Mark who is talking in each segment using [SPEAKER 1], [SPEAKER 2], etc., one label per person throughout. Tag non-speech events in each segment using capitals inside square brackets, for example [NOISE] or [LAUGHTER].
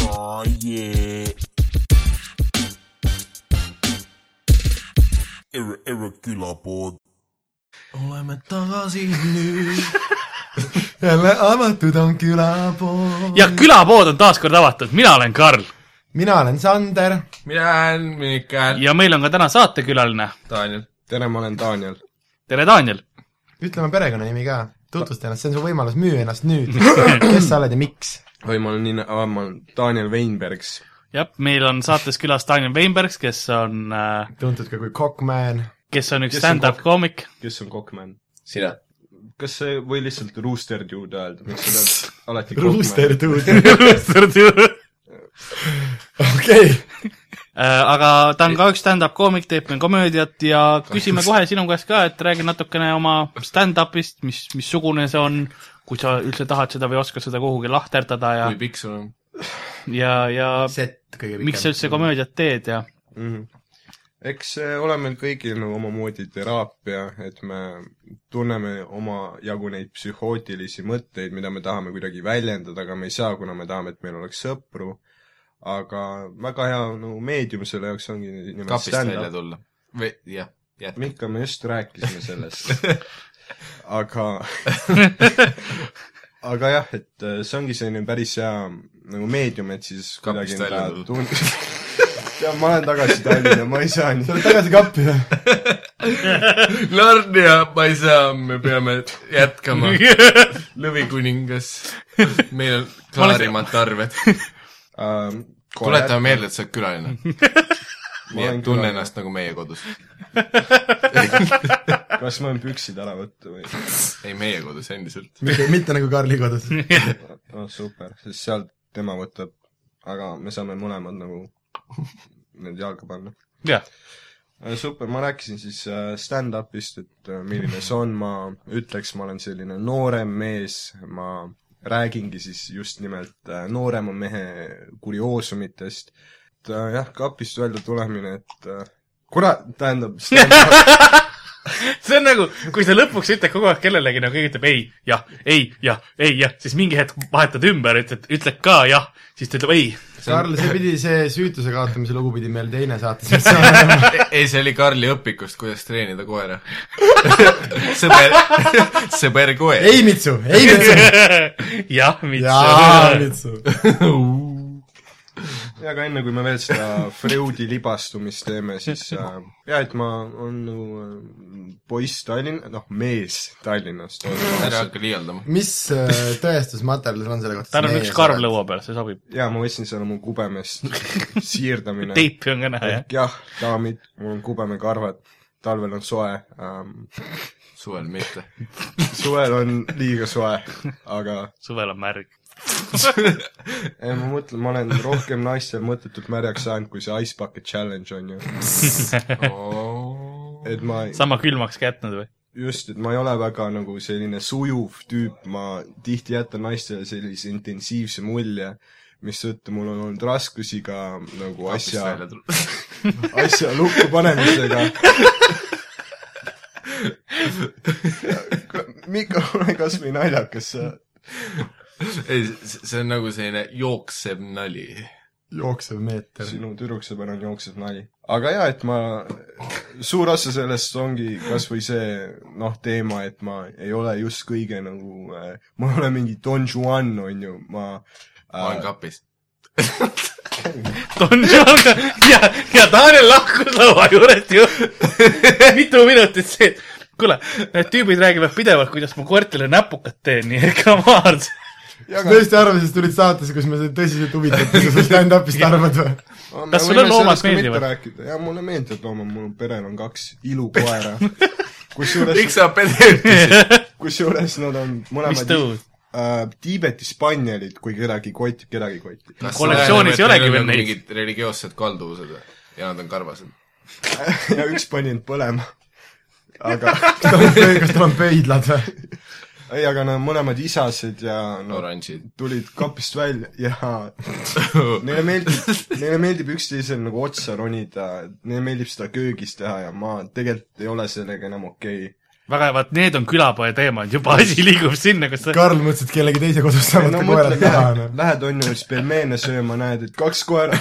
[SPEAKER 1] Oh yeah. Erre, erre külapod.
[SPEAKER 2] oleme tagasi nüüd . [LAUGHS] jälle avatud on külapood .
[SPEAKER 3] ja külapood on taas kord avatud , mina olen Karl
[SPEAKER 2] mina olen Sander .
[SPEAKER 4] mina olen Mihkel .
[SPEAKER 3] ja meil on ka täna saatekülaline .
[SPEAKER 4] Daniel .
[SPEAKER 5] tere , ma olen Daniel .
[SPEAKER 3] tere , Daniel .
[SPEAKER 2] ütleme perekonnanimi ka , tutvusta ennast , see on su võimalus , müü ennast [LAUGHS] nüüd . kes sa oled ja miks ?
[SPEAKER 5] või ma olen nii , ma olen Daniel Veinbergs .
[SPEAKER 3] jah , meil on saates külas Daniel Weinbergs , kes on ,
[SPEAKER 2] tuntud ka kui Cockman .
[SPEAKER 3] kes on üks
[SPEAKER 5] Kes on
[SPEAKER 3] stand-up koomik .
[SPEAKER 5] kes on Cockman ?
[SPEAKER 4] sina .
[SPEAKER 5] kas see või lihtsalt Rooster Dude öelda , miks sa pead alati
[SPEAKER 2] Rooster
[SPEAKER 5] Cockman ?
[SPEAKER 2] Dude ,
[SPEAKER 3] aga
[SPEAKER 2] [LAUGHS] okei .
[SPEAKER 3] Äh, ta on ka üks stand-up koomik , teeb meil komöödiat ja küsime kohe sinu käest ka , et räägi natukene oma stand-up'ist , mis , missugune see on , kui sa üldse tahad seda või oskad seda kuhugi lahterdada ja
[SPEAKER 4] kui , pikk sul on ?
[SPEAKER 3] ja , ja
[SPEAKER 2] sett kõige pikem .
[SPEAKER 3] miks sa üldse ? komöödiat teed ja [LAUGHS]
[SPEAKER 5] Mhm. eks see ole meil kõigil nagu omamoodi teraapia , et me tunneme omajagu neid psühhootilisi mõtteid , mida me tahame kuidagi väljendada , aga me ei saa , kuna me tahame , et meil oleks sõpru . aga väga hea nagu meedium selle jaoks ongi nimelt
[SPEAKER 4] kapist välja
[SPEAKER 5] stand-up .
[SPEAKER 4] tulla . või , jah , jätka .
[SPEAKER 5] Mihkel , me just rääkisime
[SPEAKER 4] [LAUGHS]
[SPEAKER 5] sellest . aga aga jah , et äh, see ongi selline päris hea nagu meedium , et siis
[SPEAKER 4] Kapist
[SPEAKER 5] kuidagi
[SPEAKER 4] välja
[SPEAKER 5] enda
[SPEAKER 4] tulla.
[SPEAKER 5] tun- [LAUGHS] ja ma olen tagasi Tallinna , ma ei saa
[SPEAKER 2] sa
[SPEAKER 5] nii .
[SPEAKER 2] oled tagasi kappi või ?
[SPEAKER 4] Narnia , ma ei saa , me peame [LAUGHS] jätkama . lõvikuningas . meil on klaarimad arved . tuletame . meelde , et sa oled külaline . nii et tunne . ennast nagu meie kodus .
[SPEAKER 5] kas ma võin püksid ära võtta või ?
[SPEAKER 4] ei , meie kodus endiselt .
[SPEAKER 2] mitte , mitte nagu Karli kodus .
[SPEAKER 5] oh super , sest sealt tema võtab , aga me saame mõlemad nagu need jalga panna .
[SPEAKER 3] Jah. .
[SPEAKER 5] Äh, super , ma rääkisin siis äh, stand-up'ist , et äh, milline see on , ma ütleks , ma olen selline noorem mees , ma räägingi siis just nimelt äh, noorema mehe kurioosumitest . et äh, jah , kapist välja tulemine , et äh, kurat , tähendab ,
[SPEAKER 3] see on nagu , kui sa lõpuks ütled kogu aeg kellelegi , no keegi ütleb ei , jah , ei , jah , ei , jah , siis mingi hetk vahetad ümber , ütled , ütled ka jah , siis ta ütleb ei .
[SPEAKER 2] Karl , see pidi , see süütuse kaotamise lugu pidi meil teine saates [LAUGHS] vist olema .
[SPEAKER 4] E-, ei , see oli Karli õpikust , kuidas treenida [LAUGHS] koera . sõber , [LAUGHS] sõber koer .
[SPEAKER 2] ei , Mitsu , ei , Mitsu .
[SPEAKER 3] jah ,
[SPEAKER 2] jaa ,
[SPEAKER 3] Mits .
[SPEAKER 2] Mitsu .
[SPEAKER 5] ja aga enne , kui me veel seda Freudi libastumist teeme , siis äh, jah , et ma olen nagu äh, poiss Tallinn , noh , mees Tallinnast .
[SPEAKER 4] ära hakka liialdama .
[SPEAKER 2] mis äh, tõestusmaterjal sul on selle kohta ?
[SPEAKER 3] tal on üks karv . lõua peal , see sobib .
[SPEAKER 5] ja ma võtsin selle mu kubemest siirdamine .
[SPEAKER 3] teipi on ka näha , jah .
[SPEAKER 5] jah , daamid , mul on kubemekarvad , talvel on soe ähm, ,
[SPEAKER 4] suvel [LAUGHS] mitte .
[SPEAKER 5] suvel on liiga soe , aga
[SPEAKER 3] suvel on märg . [LAUGHS]
[SPEAKER 5] ei , ma mõtlen , ma olen rohkem naistel mõttetult märjaks saanud , kui see Ice Bucket Challenge on ju . et ma
[SPEAKER 3] sama külmaks ka jätnud või ?
[SPEAKER 5] just , et ma ei ole väga nagu selline sujuv tüüp , ma tihti jätan naistele sellise intensiivse mulje , mistõttu mul on olnud raskusi ka nagu asja , asja lukku panemisega . Mikko , ole kas või naljakas , sa
[SPEAKER 4] ei , see on nagu selline jooksev nali .
[SPEAKER 2] jooksev meeter .
[SPEAKER 5] sinu tüdruksõber on jooksev nali . aga jaa , et ma , suur osa sellest ongi kas või see noh , teema , et ma ei ole just kõige nagu äh, , ma ei ole mingi Don Juan , on ju , ma äh,
[SPEAKER 4] ma olen kapis .
[SPEAKER 3] Don John [LAUGHS] ja , ja Daniel lahkus laua juurest ju [LAUGHS] mitu minutit see , et kuule , need tüübid räägivad pidevalt , kuidas ma koertele näpukad teen , nii et come on .
[SPEAKER 2] kas tõesti arvasid , et tulid saatesse , kus me seda tõsiselt huvitatud , [LAUGHS] mis sa stand-up'ist arvad või ?
[SPEAKER 3] Kas sulle loomad meeldivad? ?
[SPEAKER 5] jaa , mulle meeldivad loomad , mul on perel on kaks
[SPEAKER 3] [LAUGHS]
[SPEAKER 5] ilukoera .
[SPEAKER 4] miks
[SPEAKER 5] kusjuures ,
[SPEAKER 4] sa pedeertisid ?
[SPEAKER 5] kusjuures nad on
[SPEAKER 3] mis
[SPEAKER 5] mõlemad
[SPEAKER 3] tõus ?
[SPEAKER 5] äh, Tiibeti spanjalid , kui kedagi kotib , kedagi kotib .
[SPEAKER 3] Kollektsioonis ei olegi veel neid.
[SPEAKER 4] mingid religioossed kalduvused või? ja nad on karvased .
[SPEAKER 5] ja üks pani end põlema . aga
[SPEAKER 2] kas tal on pöidlad või ?
[SPEAKER 5] ei , aga nad on mõlemad isased ja nad
[SPEAKER 4] [LAUGHS] oranžid .
[SPEAKER 5] tulid kapist välja ja
[SPEAKER 4] [LAUGHS]
[SPEAKER 5] neile meeldib , neile meeldib üksteisele nagu otsa ronida , neile meeldib seda köögis teha ja ma tegelikult ei ole sellega enam okei okay. .
[SPEAKER 3] väga hea , vaat need on külapoe teemad , juba asi liigub sinna , kus sa
[SPEAKER 2] Karl mõtles , et kellegi teise kodus saavad
[SPEAKER 5] no
[SPEAKER 2] ka
[SPEAKER 5] mõtle
[SPEAKER 2] koerad , taha ,
[SPEAKER 5] lähed,
[SPEAKER 2] noh .
[SPEAKER 5] lähed on ju siis pelmeene sööma , näed , et kaks koera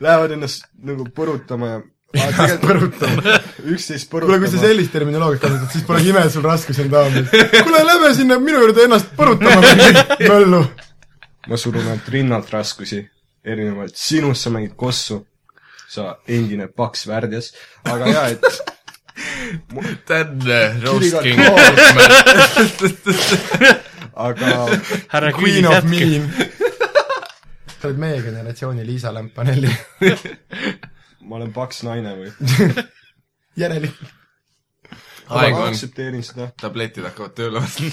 [SPEAKER 5] lähevad ennast nagu põrutama ja ennast põrutama . [LAUGHS] üksteist
[SPEAKER 2] kuule , kui sa
[SPEAKER 5] põrutama .
[SPEAKER 2] sellist terminoloogiat kasutad , siis polegi ime , et sul raskusi on taamal . kuule , lähme sinna minu juurde ennast [LAUGHS] põrutama , möllu .
[SPEAKER 5] ma surun ainult rinnalt raskusi , erinevalt sinust , sa mängid kossu , sa endine paks värdjas , aga jaa , et
[SPEAKER 4] Tänne Roast
[SPEAKER 5] Kiriga-
[SPEAKER 4] King Oldman .
[SPEAKER 5] aga
[SPEAKER 3] härra
[SPEAKER 2] Queen
[SPEAKER 3] Queen
[SPEAKER 2] of
[SPEAKER 3] jätkab .
[SPEAKER 2] meme . sa oled meie generatsiooni Liisa Lampanelli
[SPEAKER 5] ma olen paks naine või ?
[SPEAKER 2] järelikult .
[SPEAKER 4] [LAUGHS] aeg
[SPEAKER 5] ma
[SPEAKER 4] on ,
[SPEAKER 5] aktsepteerin seda .
[SPEAKER 4] tabletid hakkavad [LAUGHS] tööle vastu .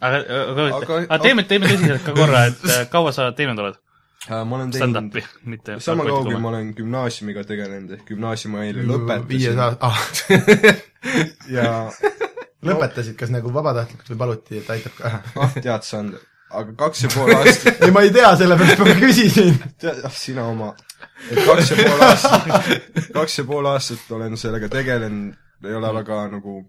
[SPEAKER 3] aga , aga
[SPEAKER 5] Aga- ,
[SPEAKER 3] aga teeme , teeme tõsiselt ka korra , et äh, kaua sa teinud oled
[SPEAKER 5] Äh, ma olen teinud
[SPEAKER 3] stand-up'i , mitte
[SPEAKER 5] sama kaua , kui ma olen gümnaasiumiga tegelenud , ehk gümnaasiumi ma eile
[SPEAKER 2] viies
[SPEAKER 5] lõpetasin
[SPEAKER 2] aasta , ah ,
[SPEAKER 5] ja
[SPEAKER 2] lõpetasid , kas nagu vabatahtlikult või paluti , et aitab ka ?
[SPEAKER 5] ah , tead , Sander , aga kaks ja pool aastat ,
[SPEAKER 2] ei , ma ei tea , sellepärast ma küsisin .
[SPEAKER 5] tead , ah sina oma , et [LAUGHS] kaks ja pool aastat , kaks ja pool aastat olen sellega tegelenud , ei ole väga nagu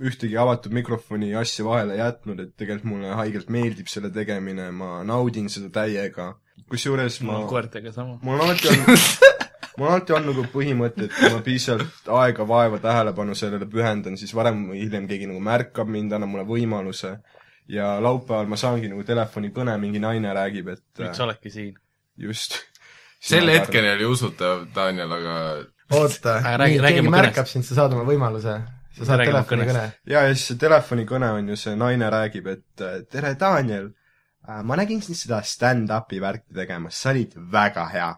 [SPEAKER 5] ühtegi avatud mikrofoni asja vahele jätnud , et tegelikult mulle haigelt meeldib selle tegemine , ma naudin seda täiega , kusjuures ma
[SPEAKER 3] mul on koertega sama .
[SPEAKER 5] mul on alati olnud , [LAUGHS] mul on alati olnud nagu põhimõte , et kui ma piisavalt aega , vaeva , tähelepanu sellele pühendan , siis varem või hiljem keegi nagu märkab mind , annab mulle võimaluse . ja laupäeval ma saangi nagu telefonikõne , mingi naine räägib , et
[SPEAKER 3] nüüd sa oledki siin .
[SPEAKER 5] just .
[SPEAKER 2] [LAUGHS]
[SPEAKER 4] sel hetkeni oli usutav , Daniel , aga
[SPEAKER 2] oota
[SPEAKER 3] Aga , räägi- räägi
[SPEAKER 2] keegi
[SPEAKER 3] mu
[SPEAKER 2] märkab
[SPEAKER 3] kõnest.
[SPEAKER 2] sind , sa saad oma võimaluse . sa saad
[SPEAKER 3] Räägi mu
[SPEAKER 2] telefonikõne .
[SPEAKER 5] ja , ja siis see telefonikõne on ju , see naine räägib , et äh, tere , Daniel . ma nägin sind seda stand-up'i värki tegemas , sa olid väga hea .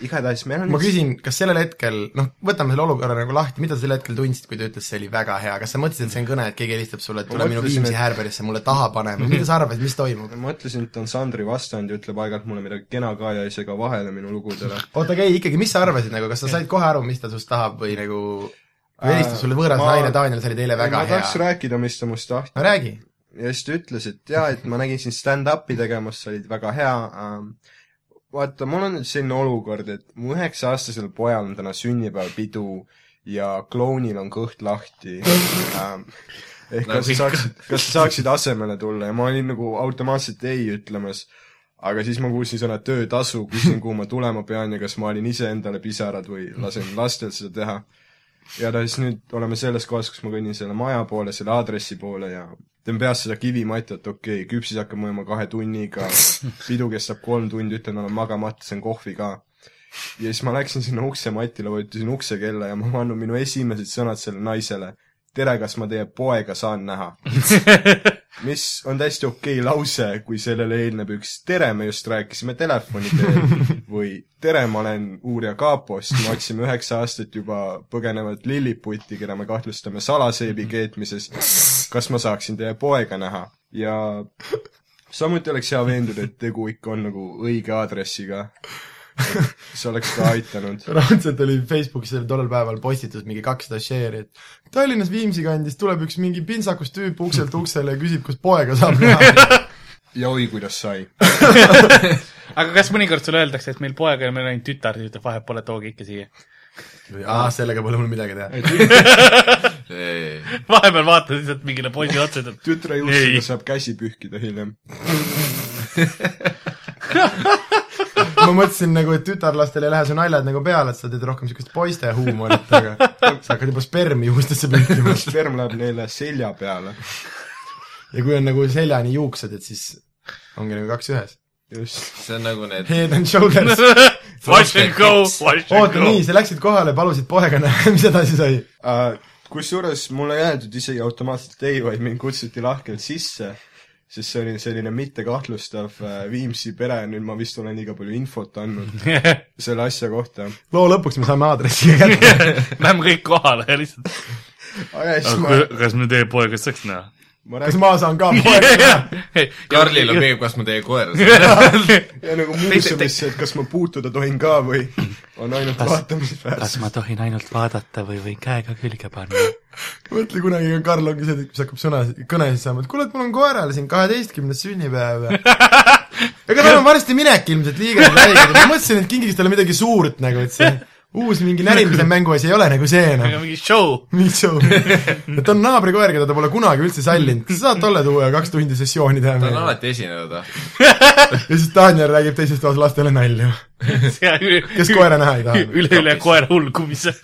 [SPEAKER 5] igatahes meil on
[SPEAKER 2] ma küsin , kas sellel hetkel , noh , võtame selle olukorra nagu lahti , mida sa sel hetkel tundsid , kui ta ütles , see oli väga hea , kas sa mõtlesid , et see on kõne , et keegi helistab sulle , et tule minu
[SPEAKER 5] mõtlesin,
[SPEAKER 2] Viimsi
[SPEAKER 5] et- Mhm.
[SPEAKER 2] häärberisse mulle taha panema , mida sa arvasid , mis toimub ?
[SPEAKER 5] ma mõtlesin , et ta on Sandri vastand ja ütleb aeg-ajalt mulle midagi kena ka ja ei sega vahele minu lugudele .
[SPEAKER 2] oota , aga ei , ikkagi , mis sa arvasid nagu , kas sa said kohe aru , mis ta sinust tahab või nagu või helistas sulle võõras
[SPEAKER 5] Ma-
[SPEAKER 2] naine , Daniel , sa olid eile väga
[SPEAKER 5] ma tahaks
[SPEAKER 2] hea .
[SPEAKER 5] rääkida , mis ta must tahtis
[SPEAKER 2] no räägi .
[SPEAKER 5] ja siis ta ütles , et jaa , et ma nägin sind stand-up'i tegemas , sa olid väga hea ähm, . vaata , mul on nüüd selline olukord , et mu üheksa-aastasel pojal on täna sünnipäevapidu ja klounil on kõht lahti ähm, . ehk
[SPEAKER 4] Nagu
[SPEAKER 5] kas sa
[SPEAKER 4] ikka.
[SPEAKER 5] saaksid , kas sa saaksid asemele tulla ja ma olin nagu automaatselt ei ütlemas aga siis ma kuulsin sõna töötasu , küsisin , kuhu ma tulema pean ja kas ma olin ise endale pisarad või lasen lastel seda teha . ja ta siis nüüd oleme selles kohas , kus ma kõnnin selle maja poole , selle aadressi poole ja teen peas seda kivimatti , et okei okay, , küpsis hakkab mõjuma kahe tunniga , pidu kestab kolm tundi , ütlen , olen magamata , sõin kohvi ka . ja siis ma läksin sinna uksematile , vajutasin uksekella ja ma ei andnud minu esimesed sõnad sellele naisele . tere , kas ma teie poega saan näha ? mis on täiesti okei lause , kui sellele eelneb üks tere , me just rääkisime telefoni teel või tere , ma olen uurija Kaapost , me otsime üheksa aastat juba põgenevat lilliputti , keda me kahtlustame salaseebi keetmises . kas ma saaksin teie poega näha ja samuti oleks hea veenduda , et tegu ikka on nagu õige aadressiga . see oleks ka aitanud .
[SPEAKER 2] raudselt oli Facebookis sel tollel päeval postitus mingi kakssada share'i , et Tallinnas Viimsi kandis tuleb üks mingi pintsakus tüüp ukselt uksele ja küsib , kas poega saab näha .
[SPEAKER 5] ja oi , kuidas sai .
[SPEAKER 3] aga kas mõnikord sulle öeldakse , et meil poeg ja meil on ainult tütar , siis ütleb vahet pole , tooge ikka siia . [LAUGHS]
[SPEAKER 2] aa , sellega pole mul midagi teha .
[SPEAKER 4] ei ,
[SPEAKER 3] vahepeal vaatad lihtsalt mingile poisile otsa , ütleb
[SPEAKER 5] tütre
[SPEAKER 3] Ei.
[SPEAKER 5] juustega saab käsi pühkida hiljem .
[SPEAKER 2] ma mõtlesin nagu , et tütarlastel ei lähe su naljad nagu peale , et sa teed rohkem niisugust poiste huumorit , aga sa hakkad juba spermi juustesse pühkima .
[SPEAKER 5] sperm läheb neile selja peale .
[SPEAKER 2] ja kui on nagu seljani juuksed , et siis ongi nagu kaks ühes .
[SPEAKER 5] just .
[SPEAKER 4] see on nagu need ,
[SPEAKER 2] Head and
[SPEAKER 3] [LAUGHS]
[SPEAKER 2] shoulders .
[SPEAKER 3] wash and go , wash and
[SPEAKER 2] oota ,
[SPEAKER 3] go .
[SPEAKER 2] nii , sa läksid kohale , palusid poega näha , mis edasi sai ?
[SPEAKER 5] Äh, kusjuures mulle ei öeldud isegi automaatselt ei , vaid mind kutsuti lahkelt sisse , sest see oli selline mittekahtlustav äh, Viimsi pere , nüüd ma vist olen liiga palju infot andnud selle asja kohta .
[SPEAKER 2] loo lõpuks me saame aadressi kätte .
[SPEAKER 3] [LAUGHS] Lähme kõik kohale ja lihtsalt .
[SPEAKER 5] aga ja siis ma ,
[SPEAKER 3] kas me teie poega saaks [LAUGHS] näha ?
[SPEAKER 5] ma
[SPEAKER 2] kas
[SPEAKER 5] räägin
[SPEAKER 2] ma saan ka poega näha ?
[SPEAKER 4] Karlil on meeldib , kas ma teie koera
[SPEAKER 3] [LAUGHS]
[SPEAKER 4] saan .
[SPEAKER 5] ja nagu muuseumisse , et kas ma puutuda tohin ka või on ainult vaatamisväärsus .
[SPEAKER 3] kas ma tohin ainult vaadata või võin käega külge panna ?
[SPEAKER 2] mõtle kunagi , kui Karl ongi see tüüp , kes hakkab sõna , kõnesid saama , et kuule , et mul on koerale siin kaheteistkümnes [LAUGHS] sünnipäev ja ega tal on varsti minek ilmselt liiga , ma mõtlesin , et kingiks talle midagi suurt nagu , et see uus mingi närimise mänguasi ei ole nagu see
[SPEAKER 3] aga
[SPEAKER 2] enam .
[SPEAKER 3] mingi [LAUGHS] show .
[SPEAKER 2] nii show . et on naabrikoer , keda ta pole kunagi üldse sallinud , kas sa saad talle tuua ja kaks tundi sessiooni teha
[SPEAKER 4] ta on
[SPEAKER 2] meile ?
[SPEAKER 4] alati esinenud , ah .
[SPEAKER 2] ja siis Daniel räägib teises toas lastele nalju , kes koera näha ei taha .
[SPEAKER 3] üle-üle koera hulgumise .